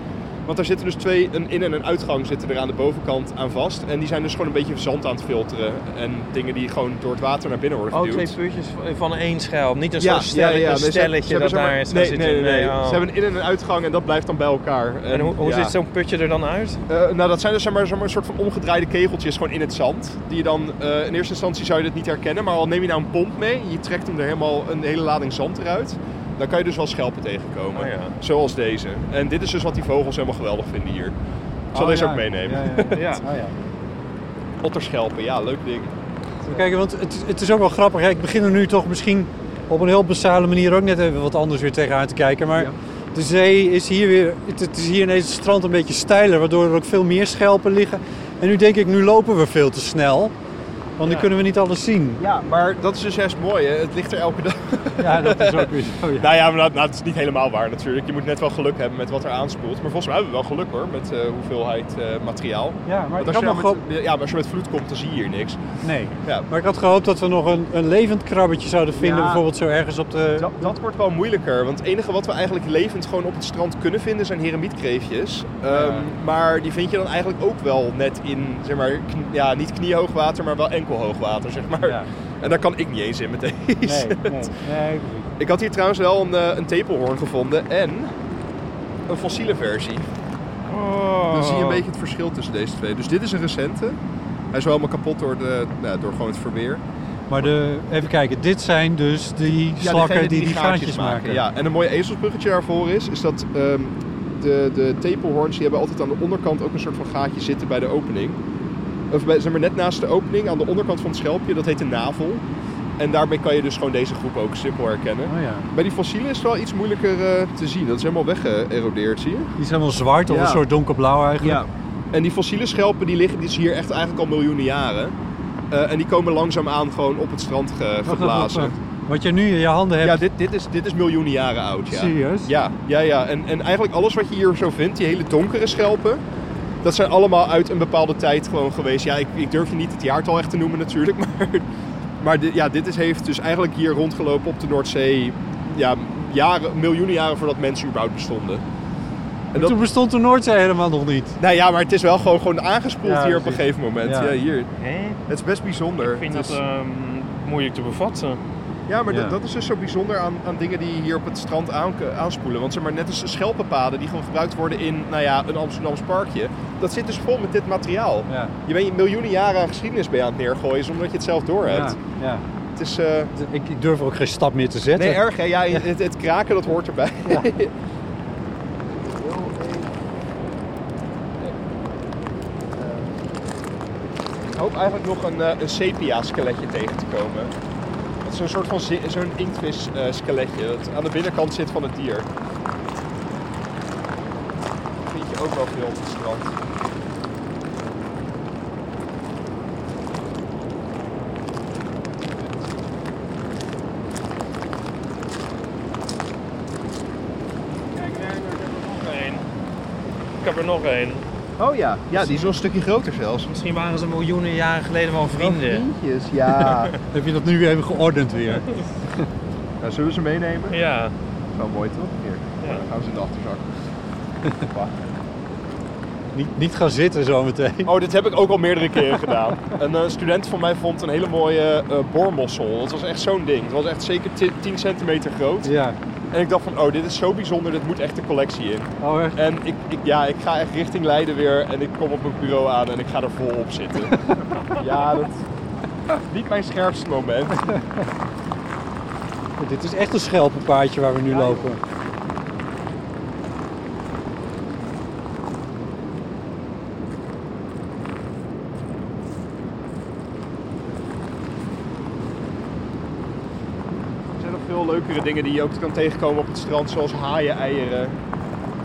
Want daar zitten dus twee, een in- en een uitgang zitten er aan de bovenkant aan vast. En die zijn dus gewoon een beetje zand aan het filteren. En dingen die gewoon door het water naar binnen worden
Oh,
geduwd.
twee puutjes van één schelp. Niet een soort stelletje,
nee, dus ze hebben- ze
stelletje
hebben
dat
zeg maar-
daar is gaan
Nee, nee,
zitten.
nee, nee.
oh.
Ze hebben een in- en een uitgang en dat blijft dan bij elkaar.
En hoe, hoe
ja.
ziet zo'n putje er dan uit?
Eh, nou, dat zijn dus zeg maar, zeg maar een soort van omgedraaide kegeltjes gewoon in het zand. Die je dan, eh, in eerste instantie zou je dit niet herkennen, maar al neem je nou een pomp mee, je trekt hem er helemaal een hele lading zand eruit, dan kan je dus wel schelpen tegenkomen.
Oh ja.
Zoals deze. En dit is dus wat die vogels helemaal geweldig vinden hier. Ik zal
Oh,
deze
ja.
ook meenemen.
Ja, ja.
Ja.
Ah, ja.
Otterschelpen, ja, leuk ding.
Even kijken, want het, het is ook wel grappig. Ja, ik begin er nu toch misschien op een heel basale manier ook net even wat anders weer tegenaan te kijken. Maar
Ja.
de zee is hier weer, het, het is hier ineens het strand een beetje steiler, waardoor er ook veel meer schelpen liggen. En nu denk ik, nu lopen we veel te snel, want nu kunnen we niet alles zien.
Ja, maar dat is dus juist mooi, hè? het ligt er elke dag.
Ja, dat is ook weer zo. ja.
Nou ja, maar dat, nou, dat is niet helemaal waar natuurlijk. Je moet net wel geluk hebben met wat er aanspoelt. Maar volgens mij hebben we wel geluk hoor, met eh, hoeveelheid eh, materiaal.
Ja, maar
Want
ik
als
had
je nou
nog
met- ja, maar als je met vloed komt, dan zie je hier niks.
gehoopt- nee.
Ja.
Maar ik had gehoopt dat we nog een, een levend krabbetje zouden vinden,
Ja.
bijvoorbeeld zo ergens op de...
Dat, dat wordt wel moeilijker, want het enige wat we eigenlijk levend gewoon op het strand kunnen vinden zijn heremietkreefjes. Ehm, Maar die vind je dan eigenlijk ook wel net in, zeg maar, kn- ja, niet kniehoog water, maar wel enkel hoog water, zeg maar.
Ja.
En daar kan ik niet eens in met deze.
Nee, nee, nee.
Ik had hier trouwens wel een, eh, een tepelhoorn gevonden en een fossiele versie.
Oh.
Dan zie je een beetje het verschil tussen deze twee. Dus dit is een recente. Hij is wel helemaal kapot door, de, nou, door gewoon het verweer.
Maar de, even kijken, dit zijn dus die slakken
degene
die die, gaatjes maken.
Ja, en een mooi ezelsbruggetje daarvoor is, is dat ehm, de, de tepelhoorns die hebben altijd aan de onderkant ook een soort van gaatje zitten bij de opening. Of bij, zeg maar net naast de opening, aan de onderkant van het schelpje, dat heet de navel. En daarmee kan je dus gewoon deze groep ook simpel herkennen.
Oh ja.
Bij die fossielen is het wel iets moeilijker eh, te zien. Dat is helemaal weggeërodeerd, zie je.
Die is helemaal zwart of
Ja.
een soort donkerblauw eigenlijk.
En die fossiele schelpen die liggen dus hier echt eigenlijk al miljoenen jaren. Eh, en die komen langzaamaan gewoon op het strand ge-
Wacht, wacht, wacht,
geblazen.
wacht. Wat je nu in je handen hebt.
Ja, dit, dit, is, dit is miljoenen jaren oud. Ja.
Serieus?
Ja, ja, ja. En, en eigenlijk alles wat je hier zo vindt, die hele donkere schelpen, Dat zijn allemaal uit een bepaalde tijd gewoon geweest. Ja, ik, ik durf je niet het jaartal echt te noemen natuurlijk. Maar, maar dit, ja, dit is, heeft dus eigenlijk hier rondgelopen op de Noordzee. Ja, jaren, miljoenen jaren voordat mensen überhaupt bestonden.
En Toen bestond de Noordzee helemaal nog niet.
Nou ja, maar het is wel gewoon, gewoon aangespoeld
Ja,
hier op een
precies.
gegeven moment.
Ja.
Ja, hier.
Hè?
Het is best bijzonder.
Ik vind
Het
Dus-
dat
is-
ehm, moeilijk te bevatten.
Ja, maar dat-
Ja.
dat is dus zo bijzonder aan, aan dingen die hier op het strand aan, aanspoelen. Want zeg maar, net als de schelpenpaden die gewoon gebruikt worden in nou ja, een Amsterdams parkje. Dat zit dus vol met dit materiaal.
Ja.
Je bent miljoenen jaren aan geschiedenis bij aan het neergooien zonder dat je het zelf doorhebt.
Ja, ja.
Het is... eh,
Ik, ik durf ook geen stap meer te zetten.
Nee, erg hè. Ja, het, het kraken dat hoort erbij. Ik hoop eigenlijk nog een, eh, een sepia skeletje tegen te komen. Dat is een soort van zi- zo'n inktvis eh, skeletje dat aan de binnenkant zit van het dier. Dat vind je ook wel veel op het strand.
Kijk, daar heb ik er nog één. Ik heb er nog één. Dus
Oh ja, ja die is nog een stukje groter zelfs.
Misschien waren ze miljoenen jaren geleden wel vrienden.
Vriendjes, ja.
Heb je dat nu even geordend weer?
nou, zullen we ze meenemen?
Ja.
Wel mooi toch? Hier,
Ja.
dan gaan ze in de achterzak.
Niet, niet gaan zitten zometeen.
Oh, dit heb ik ook al meerdere keren gedaan. Een eh, student van mij vond een hele mooie eh, boormossel. Dat was echt zo'n ding. Het was echt zeker ti- 10 centimeter groot.
Ja.
En ik dacht van, oh, dit is zo bijzonder, dit moet echt de collectie in.
Oh, echt?
En ik, ik, ja, ik ga echt richting Leiden weer en ik kom op mijn bureau aan en ik ga er vol op zitten. ja, dat... Niet mijn scherpste moment.
Dit is echt een schelpenpaardje waar we nu lopen.
Er zijn nog veel leukere dingen die je ook kan tegenkomen op het strand, zoals haaien, eieren.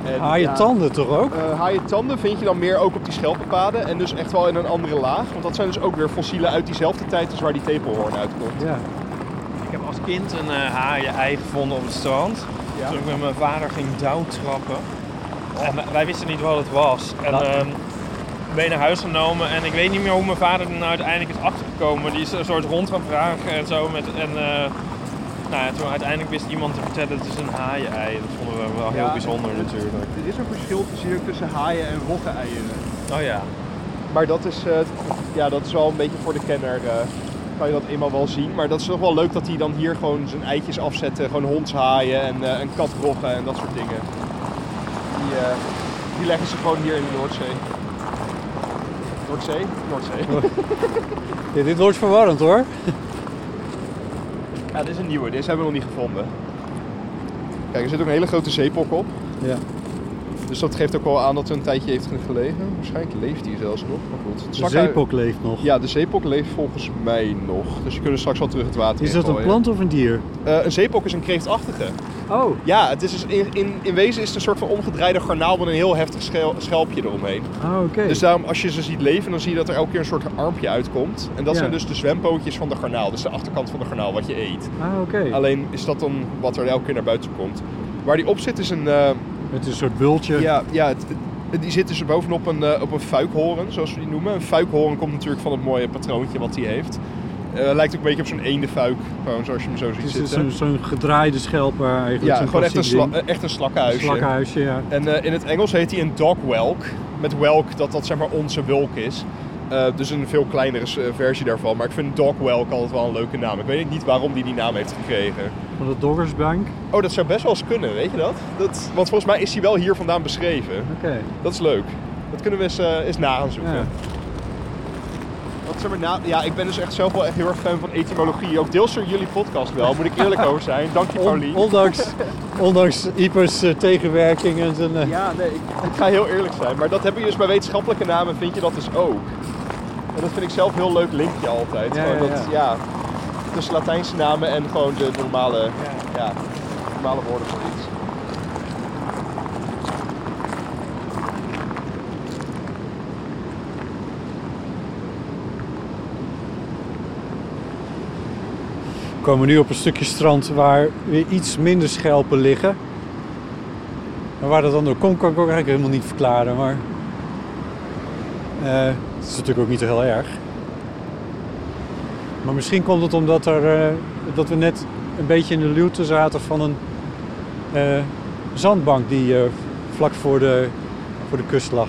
En,
Haaien
ja,
Ah, tanden toch ook?
Eh, haaientanden vind je dan meer ook op die schelpenpaden en dus echt wel in een andere laag. Want dat zijn dus ook weer fossielen uit diezelfde tijd als waar die tepelhoorn uitkomt.
Ja.
Ik heb als kind een eh haaien-ei gevonden op het strand.
Ja.
Toen ik met mijn vader ging douwtrappen. En wij- wij wisten niet wat het was. En ehm ben je naar huis genomen. En ik weet niet meer hoe mijn vader er nou uiteindelijk is achtergekomen. Die is een soort rond gaan vragen en zo. Met, en eh, nou ja, toen uiteindelijk wist iemand te vertellen dat het is een haaien-ei. Dat vonden we wel heel
Ja.
bijzonder natuurlijk.
Er is een verschil tussen, tussen haaien en rogge-eieren.
Oh ja.
Maar dat is, eh, ja, dat is wel een beetje voor de kenner. eh, kan je dat eenmaal wel zien. Maar dat is toch wel leuk dat hij dan hier gewoon zijn eitjes afzetten. Gewoon hondshaaien en, eh en katroggen en dat soort dingen. Die, eh, die leggen ze gewoon hier in de Noordzee. Noordzee? Noordzee.
Ja, dit wordt verwarrend hoor.
Ja, dit is een nieuwe. Deze hebben we nog niet gevonden. Kijk, er zit ook een hele grote zeepok op.
Ja.
Dus dat geeft ook wel aan dat hij een tijdje heeft gelegen. Waarschijnlijk leeft hij zelfs nog. Maar goed. Het
De
zak-
zeepok leeft nog.
Ja, de zeepok leeft volgens mij nog. Dus je kunt er straks wel terug het water
Is dat een
ingooien.
plant of een dier?
Eh, een zeepok is een kreeftachtige.
Oh.
Ja, het is dus in, in, in wezen is het een soort van omgedraaide garnaal met een heel heftig schel- schelpje eromheen.
Ah, oké.
Dus daarom, als je ze ziet leven, dan zie je dat er elke keer een soort armpje uitkomt. En dat
Ja.
zijn dus de zwempootjes van de garnaal. Dus de achterkant van de garnaal, wat je eet.
Ah, oké.
Alleen is dat dan wat er elke keer naar buiten komt. Waar die op zit is een... eh,
Met een soort bultje.
ja, ja het, het- die zit dus bovenop een, eh, op een fuikhoorn, zoals we die noemen. Een fuikhoorn komt natuurlijk van het mooie patroontje wat die heeft. Eh, lijkt ook een beetje op zo'n eendenfuik, gewoon zoals je hem zo ziet
Het is zo'n
zitten.
zo'n gedraaide schelper eigenlijk.
Ja,
zo'n
gewoon echt een,
klassiek
sla, eh,
ding.
echt een slakkenhuisje.
Slakkenhuisje, ja.
En eh, in het Engels heet hij een dog whelk. Met whelk dat dat zeg maar onze wulk is. Eh, dus een veel kleinere eh, versie daarvan. Maar ik vind dog whelk altijd wel een leuke naam. Ik weet niet waarom die die naam heeft gekregen.
Van de Doggersbank. Oké.
Oh, dat zou best wel eens kunnen, weet je dat? dat want volgens mij is hij wel hier vandaan beschreven. Dat is leuk. Dat kunnen we eens, eh, eens na gaan zoeken.
Ja.
Wat zeg maar na, ja, ik ben dus echt zelf wel echt heel erg fan van etymologie. Ook deels door jullie podcast wel, moet ik eerlijk over zijn. Dank je,
On-
Paulien.
ondanks, ondanks Ipers eh, tegenwerking en zijn... eh,
Ja, nee, ik, ik ga heel eerlijk zijn. Maar dat heb je dus bij wetenschappelijke namen, vind je dat dus ook. En dat vind ik zelf een heel leuk linkje altijd.
Ja,
gewoon
ja,
dat, ja. tussen Latijnse namen en gewoon de normale, ja. normale woorden voor iets.
We komen nu op een stukje strand waar weer iets minder schelpen liggen. En waar dat dan door komt, kan ik ook eigenlijk helemaal niet verklaren. Maar Eh, dat is natuurlijk ook niet heel erg. Maar misschien komt het omdat er, eh, dat we net een beetje in de luwte zaten van een eh, zandbank die eh, vlak voor de, voor de kust lag.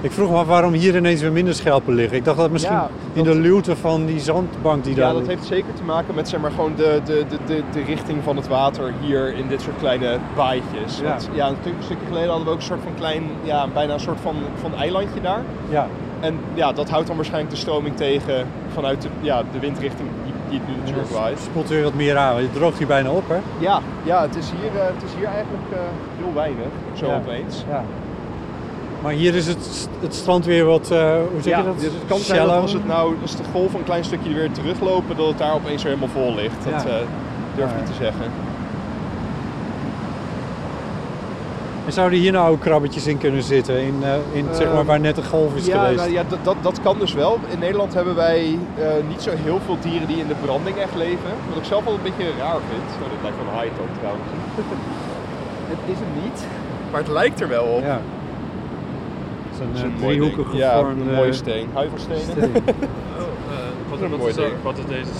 Ik vroeg me af waarom hier ineens weer minder schelpen liggen. Ik dacht dat misschien
Ja,
in de luwte van die zandbank die daar
Ja, dat
ligt.
heeft zeker te maken met zeg maar, gewoon de, de, de, de, de richting van het water hier in dit soort kleine baaitjes.
Ja.
Want, ja, een stuk- stukje geleden hadden we ook een soort van klein, ja, bijna een soort van, van eilandje daar.
Ja.
En ja, dat houdt dan waarschijnlijk de stroming tegen vanuit de, ja, de windrichting die, die het nu
En
natuurlijk
dat
waait.
spoelt weer wat meer aan. want Je droogt hier bijna op, hè?
Ja, ja het, is hier, eh, het is hier eigenlijk eh, heel weinig, zo
Ja.
opeens.
Ja. Maar hier is het, st- het strand weer wat, eh, hoe zeg
Ja,
je dat?
dus het kan zijn dat
Shallow?
als, het nou, als de golven een klein stukje weer teruglopen, dat het daar opeens weer helemaal vol ligt. Dat
Ja.
eh, durf ik
Ja.
niet te zeggen.
En zouden hier nou ook krabbetjes in kunnen zitten? In, eh, in zeg maar
Ehm,
waar net een golf is
Ja,
geweest?
nou ja dat, dat, dat kan dus wel. In Nederland hebben wij eh, niet zo heel veel dieren die in de branding echt leven. Wat ik zelf wel een beetje raar vind. Oh, dit lijkt wel een haaitand trouwens. het is het niet, maar het lijkt er wel op.
Ja. Het is een,
Het is
eh,
mooi ding.
driehoekig
Ja,
gevormde...
een mooie steen. Huivelstenen.
Wat,
Een
wat
mooi
is,
ding.
dat- wat is deze?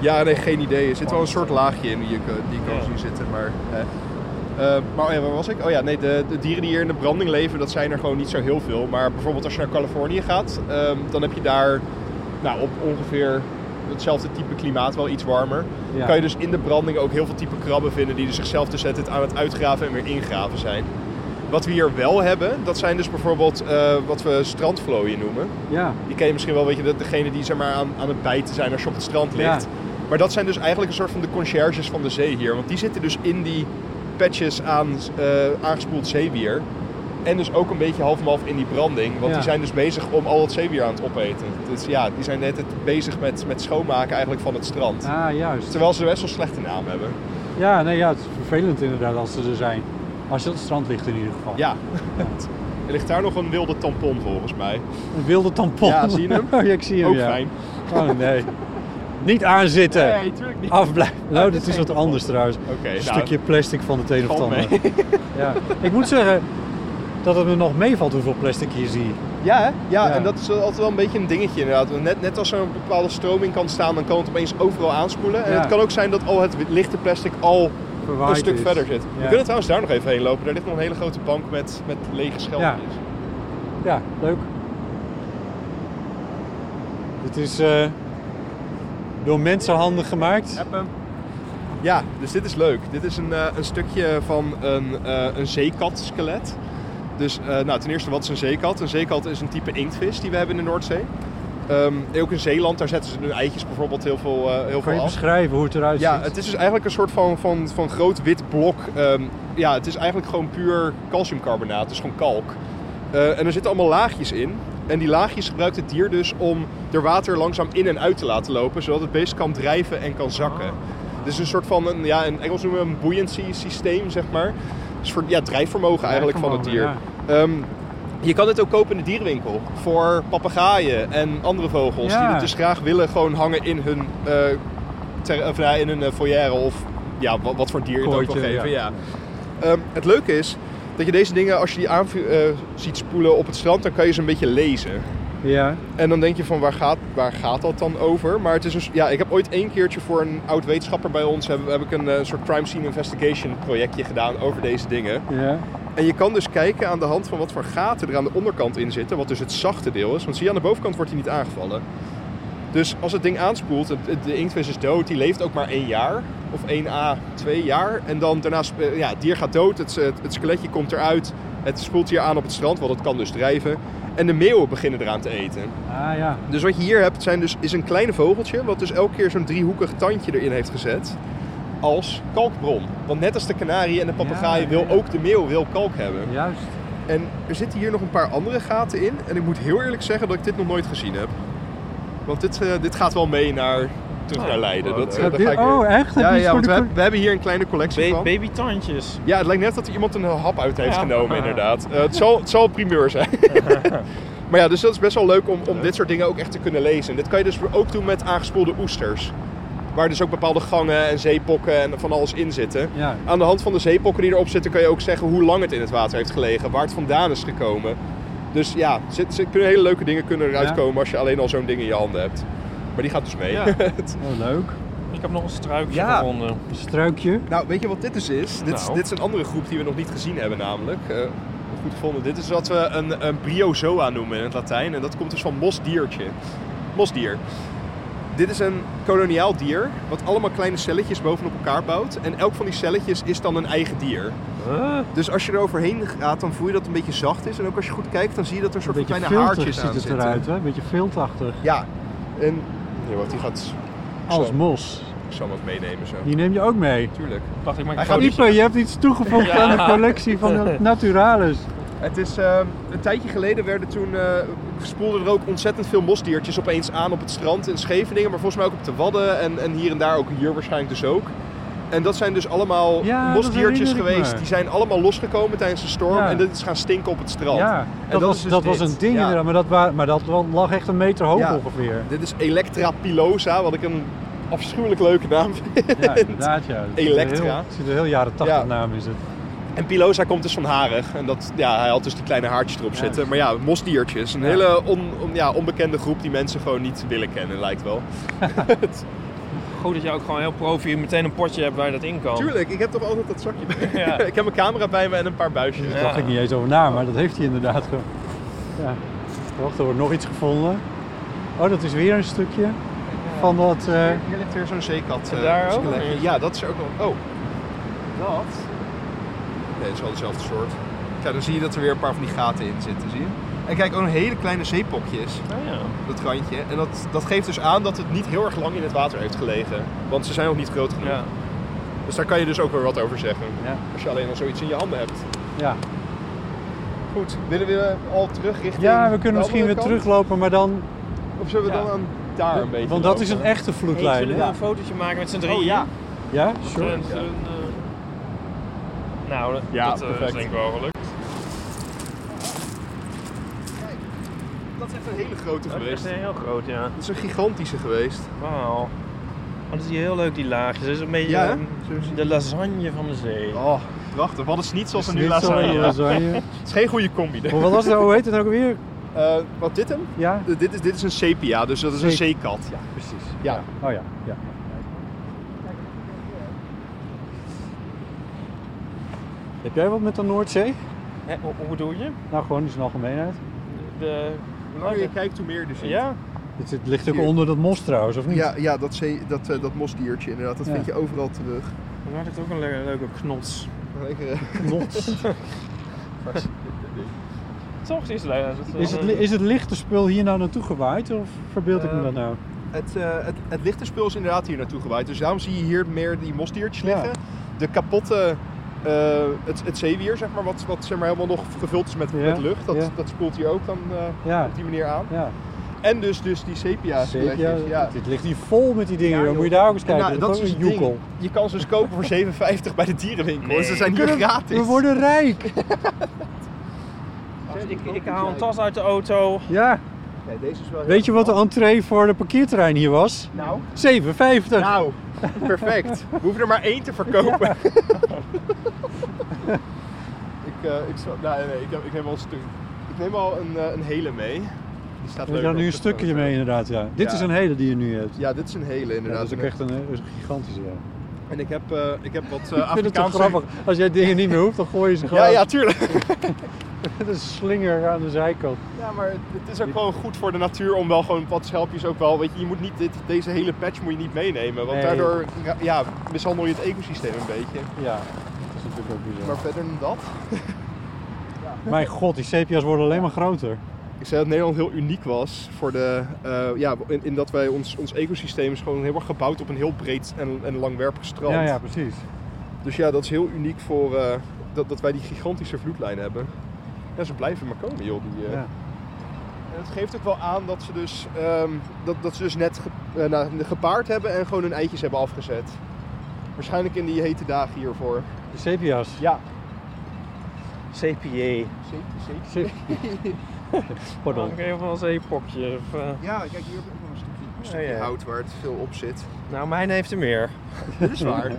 Ja, nee, geen idee. Er zit wel een soort laagje in die je kan- die je kan
Ja.
zien zitten. Maar, eh. Eh, maar oh ja, waar was ik? Oh ja, nee, de, de dieren die hier in de branding leven, dat zijn er gewoon niet zo heel veel. Maar bijvoorbeeld als je naar Californië gaat, ehm, dan heb je daar nou, op ongeveer hetzelfde type klimaat, wel iets warmer.
Ja.
Kan je dus in de branding ook heel veel type krabben vinden die er zichzelf dus het aan het uitgraven en weer ingraven zijn. Wat we hier wel hebben, dat zijn dus bijvoorbeeld eh, wat we strandvlooien noemen.
Ja.
Die ken je misschien wel, weet je, dat degene die zeg maar, aan, aan het bijten zijn als je op het strand ligt.
Ja.
Maar dat zijn dus eigenlijk een soort van de conciërges van de zee hier. Want die zitten dus in die patches aan eh, aangespoeld zeewier. En dus ook een beetje half en half in die branding. Want
Ja.
die zijn dus bezig om al het zeewier aan het opeten. Dus ja, die zijn de hele tijd bezig met, met schoonmaken eigenlijk van het strand.
Ah, juist.
Terwijl ze best wel slechte naam hebben.
Ja, nee, ja, het is vervelend inderdaad als ze er zijn. Als je op het strand ligt in ieder geval.
Ja. Er ligt daar nog een wilde tampon volgens mij.
Een wilde tampon.
Ja, zie je hem?
Oh, ja, ik zie hem,
Ook
ja.
fijn.
Oh, nee. Niet aanzitten.
Nee, tuurlijk niet. Oh,
Afblijven. Nou,
dit
dit is
is geen
wat
tampon.
anders trouwens.
Oké,
een
nou.
stukje plastic van het een of het
Valt
ander.
mee.
Ja. Ik moet zeggen dat het me nog meevalt hoeveel plastic je ziet.
Ja, hè? Ja,
Ja.
en dat is altijd wel een beetje een dingetje inderdaad. Want Net, net als er een bepaalde stroming kan staan, dan kan het opeens overal aanspoelen. En
Ja.
het kan ook zijn dat al het lichte plastic al
Verwaaid
een stuk
is.
verder zit.
Ja.
We kunnen trouwens daar nog even heen lopen. Daar ligt nog een hele grote bank met, met lege schelpjes.
Ja, leuk. Dit is eh, door mensenhanden gemaakt.
Ja, dus dit is leuk. Dit is een, eh, een stukje van een, eh een zeekatskelet. Dus eh, nou, ten eerste, wat is een zeekat? Een zeekat is een type inktvis die we hebben in de Noordzee. Ehm, ook in Zeeland, daar zetten ze hun eitjes bijvoorbeeld heel veel, eh, heel
Kan
veel
je
af.
beschrijven hoe het eruit
Ja,
ziet?
het is dus eigenlijk een soort van, van, van groot wit blok. Ehm, ja, het is eigenlijk gewoon puur calciumcarbonaat, het is gewoon kalk. Eh, en er zitten allemaal laagjes in. En die laagjes gebruikt het dier dus om er water langzaam in en uit te laten lopen, zodat het beest kan drijven en kan
Ah.
zakken. Dus een soort van, een, ja, in Engels noemen we een buoyancy systeem, zeg maar. Dus voor ja, drijfvermogen eigenlijk van het dier.
Drijfvermogen,
Ehm, je kan dit ook kopen in de dierenwinkel voor papegaaien en andere vogels
Ja.
die het dus graag willen gewoon hangen in hun eh, ter, of, nou, in een eh, foyer of ja, wat, wat voor dier je het ook wil
Kooitje,
geven.
ja.
Ja. Ehm, het leuke is dat je deze dingen, als je die aan eh, ziet spoelen op het strand, dan kan je ze een beetje lezen.
Ja,
En dan denk je van waar gaat, waar gaat dat dan over? Maar het is een, s- ja, ik heb ooit één keertje voor een oud wetenschapper bij ons heb, heb ik een eh, soort crime scene investigation projectje gedaan over deze dingen.
ja.
En je kan dus kijken aan de hand van wat voor gaten er aan de onderkant in zitten, wat dus het zachte deel is. Want zie je, aan de bovenkant wordt hij niet aangevallen. Dus als het ding aanspoelt, het- het- de inktvis is dood, die leeft ook maar één jaar. Of 1 à 2 jaar. En dan daarna, sp- eh, ja, het dier gaat dood, het, het, het skeletje komt eruit. Het spoelt hier aan op het strand, want het kan dus drijven. En de meeuwen beginnen eraan te eten.
Ah ja.
Dus wat je hier hebt zijn dus, is een kleine vogeltje, wat dus elke keer zo'n driehoekig tandje erin heeft gezet. Als kalkbron. Want net als de kanarie en de papegaai
Ja,
wil
ja.
ook de meeuw wil kalk hebben.
Juist.
En er zitten hier nog een paar andere gaten in. En ik moet heel eerlijk zeggen dat ik dit nog nooit gezien heb. Want dit, eh, dit gaat wel mee naar, terug naar Leiden. Dat, eh,
Heb
daar
je-
ga ik weer-
oh, echt? Heb
Ja,
je iets
ja
voor
want
de
we,
co-
hebben- we hebben hier een kleine collectie
Ba
van.
babytandjes.
Ja, het lijkt net dat er iemand een hap uit heeft
Ja.
genomen, inderdaad. Eh, het, zal, het zal primeur zijn. maar ja, dus dat is best wel leuk om, om dit soort dingen ook echt te kunnen lezen. En dit kan je dus ook doen met aangespoelde oesters. Waar dus ook bepaalde gangen en zeepokken en van alles in zitten.
Ja.
Aan de hand van de zeepokken die erop zitten, kan je ook zeggen hoe lang het in het water heeft gelegen, waar het vandaan is gekomen. Dus ja, er zit- kunnen hele leuke dingen kunnen eruit komen als je alleen al zo'n ding in je handen hebt. Maar die gaat dus mee.
Ja.
Oh, leuk.
Ik heb nog een struikje
Ja.
gevonden.
Struikje.
Nou, weet je wat dit dus is? Dit, is,
Nou.
dit is een andere groep die we nog niet gezien hebben namelijk. Eh, goed gevonden. Dit is wat we een, een briozoa noemen in het Latijn. En dat komt dus van mosdiertje. Mosdier. Dit is een koloniaal dier wat allemaal kleine celletjes bovenop elkaar bouwt. En elk van die celletjes is dan een eigen dier. Dus als je er overheen gaat, dan voel je dat het een beetje zacht is. En ook als je goed kijkt, dan zie je dat er een soort van
beetje
kleine
filter
haartjes
ziet
aan
het
zitten.
eruit, hè? Beetje filtachtig.
Ja. En... Ja, wat die gaat...
Als
Zo.
mos.
Ik zal hem ook meenemen zo.
Die neem je ook mee.
Tuurlijk.
Dacht ik, maar ik
Hij
ga
gaat
die...
niet-
Ipe, je hebt iets toegevoegd
Ja.
aan de collectie van de Naturalis.
Het is, ehm, een tijdje geleden werden toen, eh, spoelden er ook ontzettend veel mosdiertjes opeens aan op het strand in Scheveningen. Maar volgens mij ook op de Wadden en, en hier en daar, ook hier waarschijnlijk dus ook. En dat zijn dus allemaal
Ja, dat
mosdiertjes
herinner ik
geweest.
me.
Die zijn allemaal losgekomen tijdens de storm
Ja.
en dit is gaan stinken op het strand.
Ja, dat,
dat
was,
is dus
dat was
dit.
een ding
Ja.
inderdaad, maar dat, wa- maar dat lag echt een meter hoog
Ja.
ongeveer.
Dit is Electra pilosa, wat ik een afschuwelijk leuke naam vind.
Ja, inderdaad ja. Het is een
Elektra.
heel- Het is een heel jaren tachtig
Ja.
naam is het.
En pilosa komt dus van harig. En dat, ja, hij had dus die kleine haartjes erop zitten. Maar ja, mosdiertjes. Een hele on- on- ja, onbekende groep die mensen gewoon niet willen kennen, lijkt wel.
Goed dat je ook gewoon heel profi meteen een potje hebt waar je dat in kan.
Tuurlijk, ik heb toch altijd dat zakje bij
Ja.
Ik heb mijn camera bij me en een paar buisjes.
Daar dacht ik niet eens over na, maar dat heeft hij inderdaad. ge- Ja. Wacht, er wordt nog iets gevonden. Oh, dat is weer een stukje van dat... eh,
Hier ligt weer zo'n zeekat.
En
eh,
daar ook?
skelet. Ja, dat is er ook wel. Oh. Dat? Nee, het is wel dezelfde soort. Ja, dan zie je dat er weer een paar van die gaten in zitten, zie je? En kijk, ook een hele kleine zeepokjes,
Ah, ja.
dat randje. En dat, dat geeft dus aan dat het niet heel erg lang in het water heeft gelegen. Want ze zijn nog niet groot genoeg.
Ja.
Dus daar kan je dus ook weer wat over zeggen.
Ja.
Als je alleen al zoiets in je handen hebt.
ja.
Goed, willen we al terug richting
ja, we kunnen
de
misschien weer
andere kant?
teruglopen, maar dan...
Of zullen we
Ja.
dan aan daar een beetje
Want dat is een
lopen?
echte
Hey, zullen
vloedlijn.
we
hè?
een fotootje maken met z'n drieën?
Oh ja.
Ja,
Zullen
sure.
we- zullen we een, eh, Nou, dat,
Ja,
dat, eh, is
perfect.
denk ik wel gelukt.
Dat is echt een hele grote
Dat is
geweest.
heel groot, ja.
Dat is een gigantische geweest.
Wauw. Want is hier heel leuk, die laagjes. Dat is een beetje
Ja, hè?
ehm, de lasagne van de zee.
Oh, prachtig. Wat is niet zoals een nu
Dit is wel een
lasagne. Het
lasagne.
is geen goede combi.
Hoe- Wat was het, hoe heet het ook weer?
Eh, wat dit hem?
Ja,
Eh, Dit is, dit is een sepia, dus dat is een
Zee-
zeekat. Ja,
precies.
Ja.
Oh ja, ja. Heb jij wat met de Noordzee?
Hè, hoe, hoe bedoel je?
Nou, gewoon in zijn algemeenheid.
De...
Hoe langer je kijkt, hoe meer dus.
Ja?
Het, het ligt ook
Hier.
onder dat mos trouwens, of niet?
Ja, ja dat, zee, dat, eh, dat mosdiertje inderdaad, dat
Ja.
vind je overal terug.
Dan maakt het ook een leuke, leuke knots.
Lekker, eh,
Lots.
Toch is het leuk. Dat wel
Is het,
een-
li- is het lichte spul hier nou naartoe gewaaid of verbeeld ik me
Eh,
dat nou?
Het, eh het, het lichte spul is inderdaad hier naartoe gewaaid. Dus daarom zie je hier meer die mosdiertjes
Ja.
liggen. De kapotte, eh, het, het zeewier, zeg maar, wat, wat zeg maar, helemaal nog gevuld is met,
Ja,
met lucht. Dat,
ja.
dat spoelt hier ook dan eh,
Ja,
op die manier aan.
ja.
En dus, dus die sepia's.
Zeker.
Ja. ja.
Dit ligt hier vol met die dingen.
Ja,
Dan moet je
joh.
daar ook eens kijken.
Nou,
dat,
dat is
is
dus
een
het ding.
joekel.
Je kan ze dus kopen voor 7,50 bij de dierenwinkel. Dus
Nee.
Ze zijn hier
Kunnen-
gratis.
We worden rijk.
Wacht, Ik, ik haal een tas uit de auto.
Ja.
Nee, deze is wel heel
Weet je wat de
knap.
entree voor de parkeerterrein hier was?
Nou,
7,50.
nou, perfect. We hoeven er maar één te verkopen. ik, eh, ik, zal- nou, nee, ik, heb- ik neem al een stuk. Ik neem al een, eh, een hele mee. Die staat
We
leuk.
gaan nu een stukje mee inderdaad, ja. Dit
Ja.
is een hele die je nu hebt.
Ja, dit is een hele
Ja, dat
inderdaad.
is ook echt een, eh, een gigantische, ja.
En ik heb, eh, ik heb wat eh
Ik vind het toch
Afrikaanse...
grappig. Als jij dingen niet meer hoeft, dan gooi je ze gewoon.
Ja, ja, tuurlijk.
Het is een slinger aan de zijkant.
Ja, maar het- het is ook gewoon goed voor de natuur om wel gewoon wat schelpjes ook wel. Weet je, je moet niet dit, deze hele patch moet je niet meenemen. Want
Nee.
daardoor ja, ja, mishandel je het ecosysteem een beetje.
Ja, dat is natuurlijk ook bizar.
Maar verder dan dat.
Mijn god, die sepia's worden alleen maar groter.
Ik zei dat Nederland heel uniek was voor de, eh, ja, in, in dat wij ons, ons ecosysteem is gewoon heel erg gebouwd op een heel breed en, en langwerpig strand.
Ja, ja, precies.
Dus ja, dat is heel uniek voor eh, dat, dat wij die gigantische vloedlijn hebben. Ja, ze blijven maar komen, joh. Die, eh,
Ja.
En het geeft ook wel aan dat ze dus, ehm, dat, dat ze dus net ge- eh, nou, gepaard hebben en gewoon hun eitjes hebben afgezet. Waarschijnlijk in die hete dagen hiervoor.
De sepia's.
Ja.
CPA.
Sep-
Dan
Pardon.
ik even wel een popje. Of, eh,
Ja, kijk, hier heb ik nog een stukje, een
stukje ja.
hout waar het veel op zit.
Nou, mijn heeft er meer.
Dit is waar.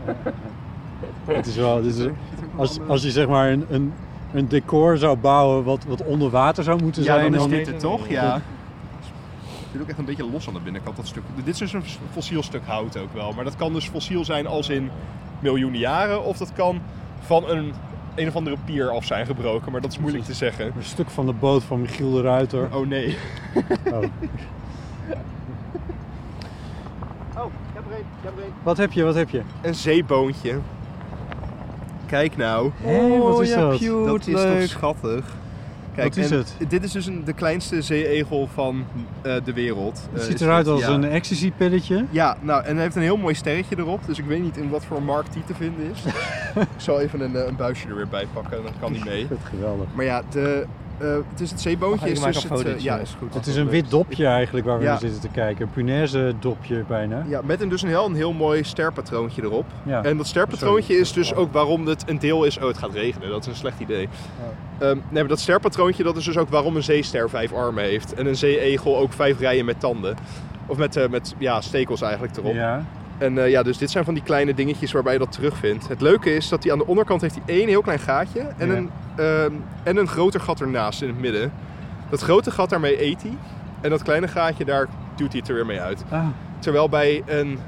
Het is wel, dit is, als, als je zeg maar een, een, een decor zou bouwen wat, wat onder water zou moeten
Ja,
zijn.
dan is
dan-
dit het toch? Ja. Het zit ook echt een beetje los aan de binnenkant, dat stuk. Dit is dus een fossiel stuk hout ook wel. Maar dat kan dus fossiel zijn als in miljoenen jaren. Of dat kan van een een of andere pier af zijn gebroken. Maar dat is moeilijk te zeggen.
Een stuk van de boot van Michiel de Ruiter.
Oh nee.
Oh.
Oh, ik heb er een.
Wat heb je, wat heb je?
Een zeeboontje. Kijk nou.
Hé, wat is dat?
dat is toch schattig.
Wat is
en
het?
Dit is dus een, de kleinste zeeegel van eh, de wereld.
Het
Eh,
ziet
is
eruit
dit,
als
ja.
een ecstasy-pilletje.
Ja, nou, en hij heeft een heel mooi sterretje erop. Dus ik weet niet in wat voor markt die te vinden is. ik zal even een, eh, een buisje er weer bij pakken, dan kan die mee.
Dat geweldig.
Maar ja, de, eh, het is het
Mag
zeeboontje.
ik
Is
maar
dus
een
het, eh,
fotootje?
ja, is goed.
Het is een wit dopje eigenlijk waar we
Ja.
naar zitten te kijken. Een punaise dopje bijna.
Ja, met een, dus een heel, een heel mooi sterpatroontje erop.
Ja.
En dat sterpatroontje is dus ook waarom het een deel is... Oh, het gaat regenen. Dat is een slecht idee. Ehm, nee, maar dat sterpatroontje dat is dus ook waarom een zeester vijf armen heeft. En een zeeegel ook vijf rijen met tanden. Of met, eh, met ja, stekels eigenlijk erop.
Ja.
En eh, ja, dus dit zijn van die kleine dingetjes waarbij je dat terugvindt. Het leuke is dat hij aan de onderkant heeft hij één heel klein gaatje en,
Ja.
een, ehm, en een groter gat ernaast in het midden. Dat grote gat daarmee eet hij en dat kleine gaatje daar duwt hij het er weer mee uit.
Ah,
Terwijl bij een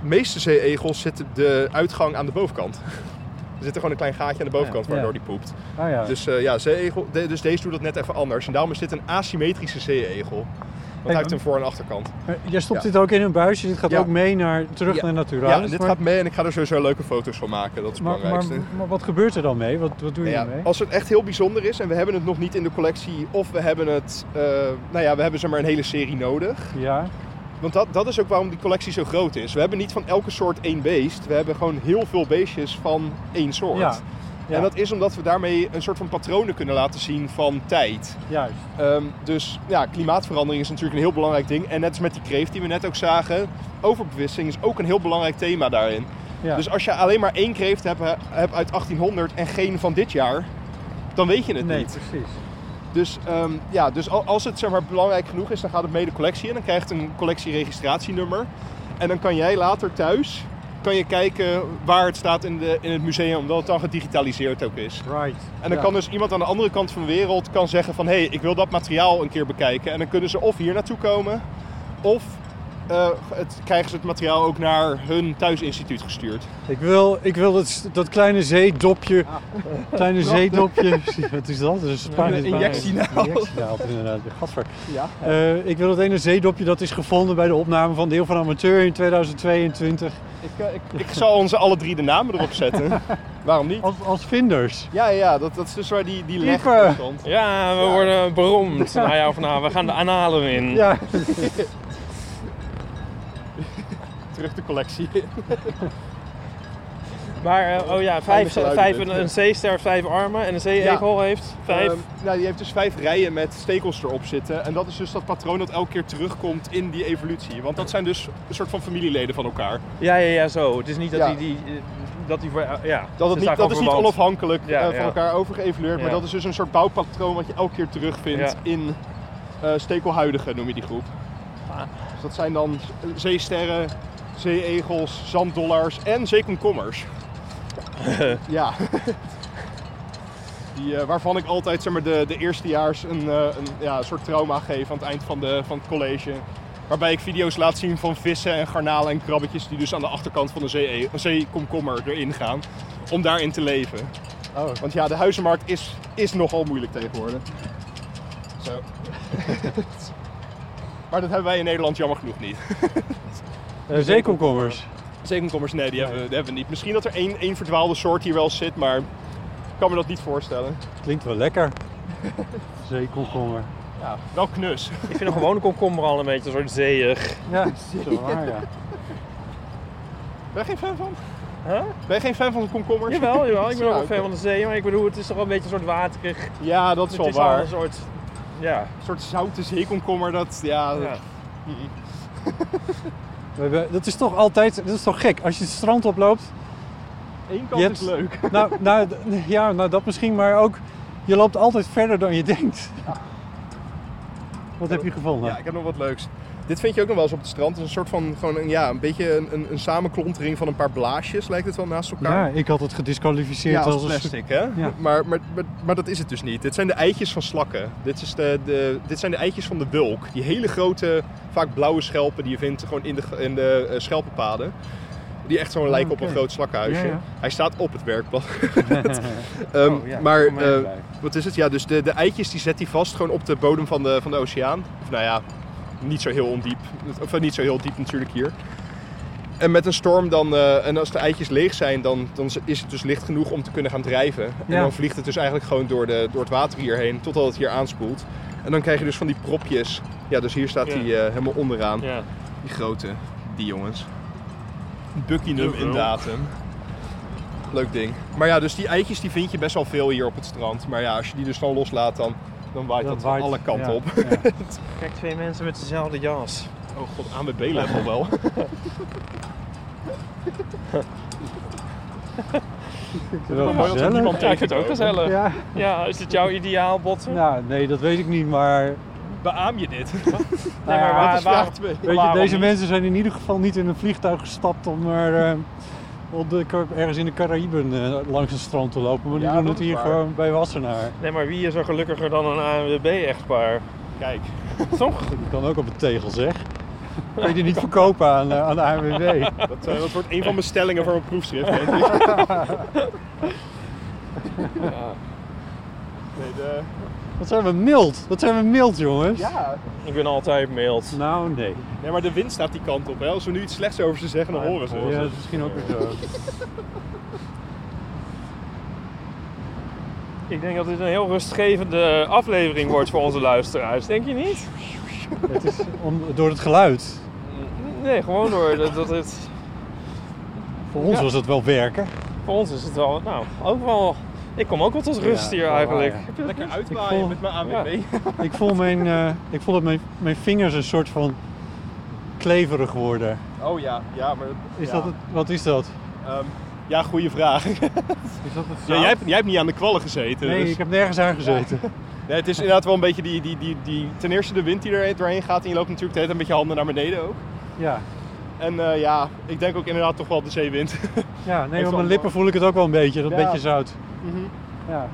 meeste zeeegels zit de uitgang aan de bovenkant. Er zit er gewoon een klein gaatje aan de bovenkant
Ja.
waardoor die poept.
ah ja.
Dus eh, ja, zeeegel, de- dus deze doet dat net even anders. En daarom is dit een asymmetrische zeeegel. Want hij heeft een voor- en achterkant.
Maar jij stopt
ja.
dit ook in een buisje. Dit gaat
Ja.
ook mee naar, terug
Ja.
naar
Ja,
Naturalis.
en dit
maar,
gaat mee en ik ga er sowieso leuke foto's van maken. Dat is het
maar, maar,
belangrijkste.
maar wat gebeurt er dan mee? Wat, wat doe je
Nou ja,
ermee?
als het echt heel bijzonder is en we hebben het nog niet in de collectie of we hebben het, eh, nou ja, we hebben zeg maar een hele serie nodig.
Ja.
Want dat, dat is ook waarom die collectie zo groot is. We hebben niet van elke soort één beest, we hebben gewoon heel veel beestjes van één soort.
Ja. Ja,
En dat is omdat we daarmee een soort van patronen kunnen laten zien van tijd.
juist.
Ehm, dus ja, klimaatverandering is natuurlijk een heel belangrijk ding. En net als met die kreeft die we net ook zagen, overbevissing is ook een heel belangrijk thema daarin.
Ja.
Dus als je alleen maar één kreeft hebt, hebt uit 1800 en geen van dit jaar, dan weet je het
nee,
niet.
precies.
Dus, ehm, ja, dus al- als het zeg maar, belangrijk genoeg is, dan gaat het mee de collectie in. Dan krijgt het een collectieregistratienummer. En dan kan jij later thuis kan je kijken waar het staat in, de, in het museum, omdat het dan gedigitaliseerd ook is.
Right.
En dan
Ja.
kan dus iemand aan de andere kant van de wereld kan zeggen van... hé, hey, ik wil dat materiaal een keer bekijken. En dan kunnen ze of hier naartoe komen... of eh, het, krijgen ze het materiaal ook naar hun thuisinstituut gestuurd.
Ik wil, ik wil dat, dat kleine zeedopje.
Ah.
Kleine zeedopje. Wat is dat? Dat is een Spaans-
Een injectienaald.
injectienaald, inderdaad. Gadver.
Ja.
Eh, ik wil dat ene zeedopje dat is gevonden bij de opname van Deel van Amateur in 2022.
Ik, eh, ik, ik zal onze alle drie de namen erop zetten. Waarom niet?
Als, als vinders.
Ja, ja, dat, dat is dus waar die, die leg
Diepe.
op stond.
Ja, we worden beroemd. Nou ja, of nou, we gaan de analen in.
Ja.
Terug de collectie.
Maar, eh, oh ja, vijf, vijf,
Weinig geluiden.
een, een zeester heeft vijf armen en een zeeegel heeft vijf.
Ehm, nou, die heeft dus vijf rijen met stekels erop zitten. En dat is dus dat patroon dat elke keer terugkomt in die evolutie. Want dat zijn dus een soort van familieleden van elkaar.
ja, ja, ja, zo. Het is niet dat
Ja.
die, die, eh, dat die voor, eh, ja.
Dat,
ze
het
staan
niet, dat is niet
gewoon verwant.
onafhankelijk
Ja,
eh, van
ja.
elkaar overgeëvalueerd, maar
Ja.
dat is dus een soort bouwpatroon wat je elke keer terugvindt
Ja.
in eh stekelhuidigen, noem je die groep. Dus dat zijn dan zeesterren, zeeegels, zanddollars en zeekomkommers. ja. Die, eh, waarvan ik altijd zeg maar, de, de eerstejaars een, eh, een ja, een soort trauma geef aan het eind van, de, van het college. Waarbij ik video's laat zien van vissen en garnalen en krabbetjes die dus aan de achterkant van de zee, zeekomkommer erin gaan. Om daarin te leven. Want ja, de huizenmarkt is, is nogal moeilijk tegenwoordig. Zo. maar dat hebben wij in Nederland jammer genoeg niet.
Eh, zeekomkommers.
Zeekomkommers, nee, die, Hebben, we, die hebben we niet. Misschien dat er één, één verdwaalde soort hier wel zit, maar ik kan me dat niet voorstellen.
Klinkt wel lekker. Zeekomkommer.
Ja, wel knus.
Ik vind een gewone komkommer al een beetje een soort zeeig.
Ja, dat is wel waar, ja.
Ben je geen fan van?
Huh?
Ben je geen fan van komkommers?
Jawel, jawel. Ik ben ook
Ja,
wel fan van de zee, maar ik bedoel, het is toch wel een beetje een soort waterig.
Ja, dat
Het
is wel
is al
waar.
een soort, ja.
Een soort zoute zeekomkommer, dat, ja,
ja.
dat-
We hebben- Dat is toch altijd, dat is toch gek. Als je het strand oploopt,
Eén kant
Je hebt-
is leuk.
Nou, nou, d- ja, nou dat misschien, maar ook je loopt altijd verder dan je denkt. Wat heb je gevonden?
Ja, ik heb nog wat leuks. Dit Dit vind je ook nog wel eens op het strand. Het is een soort van, gewoon een, ja, een beetje een, een, een samenklontering van een paar blaasjes lijkt het wel naast elkaar.
Ja, ik had het gedisqualificeerd
Ja, als
als een stuk-
plastic, hè?
Ja.
Maar, maar, maar, maar dat is het dus niet. Dit zijn de eitjes van slakken. Dit, is de, de, dit zijn de eitjes van de wulk. Die hele grote, vaak blauwe schelpen die je vindt gewoon in de, in de eh, schelpenpaden. Die echt zo'n lijken op
Ah, oké.
een groot slakkenhuisje.
Ja, ja.
Hij staat op het werkblad. Ehm,
Oh, ja,
maar
kom maar even
eh,
bij.
wat is het? Ja, dus de, de eitjes die zet hij vast gewoon op de bodem van de, van de oceaan. Of nou ja, niet zo heel ondiep. Of eh, niet zo heel diep natuurlijk hier. En met een storm dan, eh, en als de eitjes leeg zijn, dan, dan is het dus licht genoeg om te kunnen gaan drijven. En
Ja.
dan vliegt het dus eigenlijk gewoon door, de, door het water hierheen, totdat het hier aanspoelt. En dan krijg je dus van die propjes. Ja, dus hier staat
Ja.
die eh, helemaal onderaan.
Ja.
Die grote, die jongens. Buckingham
Dubbel.
in datum. Leuk ding. Maar ja, dus die eitjes die vind je best wel veel hier op het strand. Maar ja, als je die dus dan loslaat, dan, dan waait
Dan
dat
waait-
alle kanten
ja,
op.
ja.
Kijk, twee mensen met dezelfde jas.
Oh god, ANWB-level wel.
Wel
Mooi dat er
gezellig.
niemand tegen het ook gezellig. Ja.
Ja,
is dit jouw ideaal botsen?
nou, nee, dat weet ik niet, maar...
Beaam je dit?
nou ja,
waar-
is vraag Dus twee.
Weet je,
waarom
deze
niet?
mensen zijn in ieder geval niet in een vliegtuig gestapt om er, eh, op de, Car- ergens in de Caraïben eh, langs een strand te lopen. Maar die
Ja,
doen
dat
het
is
hier
waar.
gewoon bij Wassenaar.
Nee, maar wie is er gelukkiger dan een ANWB-echtpaar?
Kijk.
Toch?
Die kan ook op een tegel, zeg. Kun je die niet verkopen aan, eh, aan de ANWB?
Dat, eh, dat wordt een van mijn stellingen voor mijn proefschrift. denk ik. Nee, de...
Wat zijn we mild. Wat zijn we mild, jongens.
Ja.
Ik ben altijd mild.
Nou, nee.
Nee, maar de wind staat die kant op. Hè. Als we nu iets slechts over ze zeggen, dan horen ze. Dus
Ja, dat is misschien ook weer zo.
Ik denk dat dit een heel rustgevende aflevering wordt voor onze luisteraars. Denk je niet?
het is om, door het geluid.
Nee, gewoon door dat, dat het...
Voor ons
Ja.
was het wel werken.
Voor ons is het wel... Nou, ook wel... Ik kom ook wel tot rust
Ja,
hier
wel
eigenlijk.
waar,
Lekker
Ik
uitwaaien
voel-
met mijn AWB.
Ik voel, mijn, eh, ik voel dat mijn, mijn vingers een soort van kleverig worden.
Oh ja, ja, maar...
Is
ja.
dat het, wat is dat?
Ehm, ja, goede vraag.
Is dat het
Ja, jij, hebt, jij hebt niet aan de kwallen gezeten.
Nee,
dus-
ik heb nergens aan gezeten.
Nee, het is inderdaad wel een beetje die, die, die, die... Ten eerste de wind die er doorheen gaat. En je loopt natuurlijk de hele tijd een beetje handen naar beneden ook.
Ja,
En eh, ja, ik denk ook inderdaad toch wel de zeewind.
ja nee,
Heeft
op
wel-
mijn lippen voel ik het ook wel een beetje. Dat
Ja. Mhm.
beetje zout. Ja.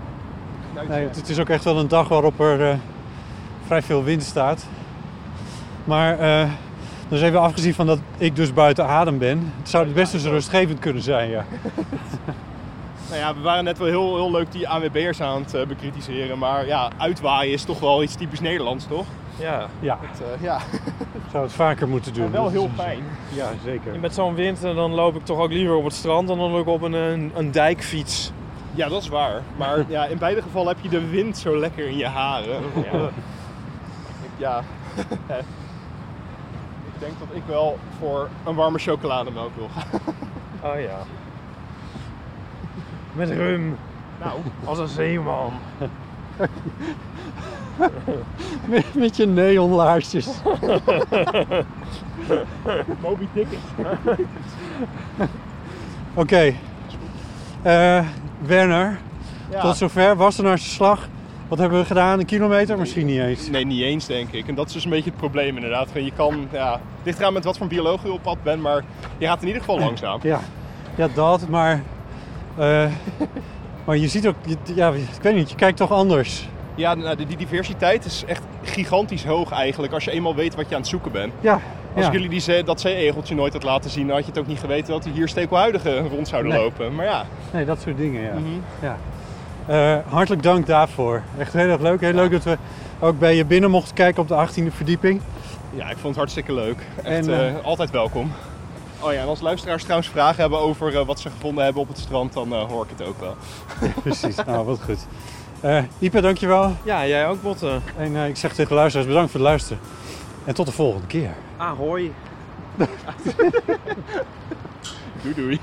Nou,
Nee, het, het is ook echt wel een dag waarop er eh, vrij veel wind staat. Maar eh dus even afgezien van dat ik dus buiten adem ben. Het zou best eens rustgevend kunnen zijn, ja.
Nou ja, we waren net wel heel, heel leuk die ANWB'ers aan het eh, bekritiseren. Maar ja, uitwaaien is toch wel iets typisch Nederlands, toch?
Ja.
Ja,
Eh, ja,
ik zou het vaker moeten doen.
en wel
Dat is
heel
een-
fijn.
Ja, zeker.
Met zo'n wind eh, dan loop ik toch ook liever op het strand dan dan ook op een, een, een dijkfiets.
Ja, dat is waar. Maar ja, in beide gevallen heb je de wind zo lekker in je haren. Ja. ja. ik denk dat ik wel voor een warme chocolademelk wil gaan.
Oh ja. Met rum.
Nou,
Als een zeeman.
Met, met je neonlaarsjes.
Moby Dick. is-
Oké. Eh, Werner,
Ja.
tot zover. Wassenaarse slag. Wat hebben we gedaan? Een kilometer? Misschien niet eens.
Nee, niet eens denk ik. En dat is dus een beetje het probleem inderdaad. Gewoon, Je kan, ja, het ligt eraan met wat voor bioloog je op pad bent, maar je gaat in ieder geval langzaam.
Ja, ja dat, maar... eh, maar je ziet ook... je- ja, ik weet niet, je kijkt toch anders.
Ja, nou, die die diversiteit is echt gigantisch hoog eigenlijk als je eenmaal weet wat je aan het zoeken bent.
Ja,
Als
ja.
ik jullie die, zee- dat zeeegeltje nooit had laten zien, dan had je het ook niet geweten dat er hier stekelhuidigen rond zouden
Nee.
lopen. Maar ja,
Nee, dat soort dingen, ja.
Mhm.
ja. Eh, hartelijk dank daarvoor. Echt heel erg leuk. Heel leuk dat we ook bij je binnen mochten kijken op de 18e verdieping.
ja, ik vond het hartstikke leuk. Echt
En, eh,
eh, altijd welkom. Oh ja, en als luisteraars trouwens vragen hebben over eh, wat ze gevonden hebben op het strand, dan eh, hoor ik het ook wel.
Precies, nou wat goed. Eh Ipe, dankjewel.
Ja, jij ook botten.
En eh, ik zeg tegen de luisteraars bedankt voor het luisteren. En tot de volgende keer.
Ahoy.
Doei doei.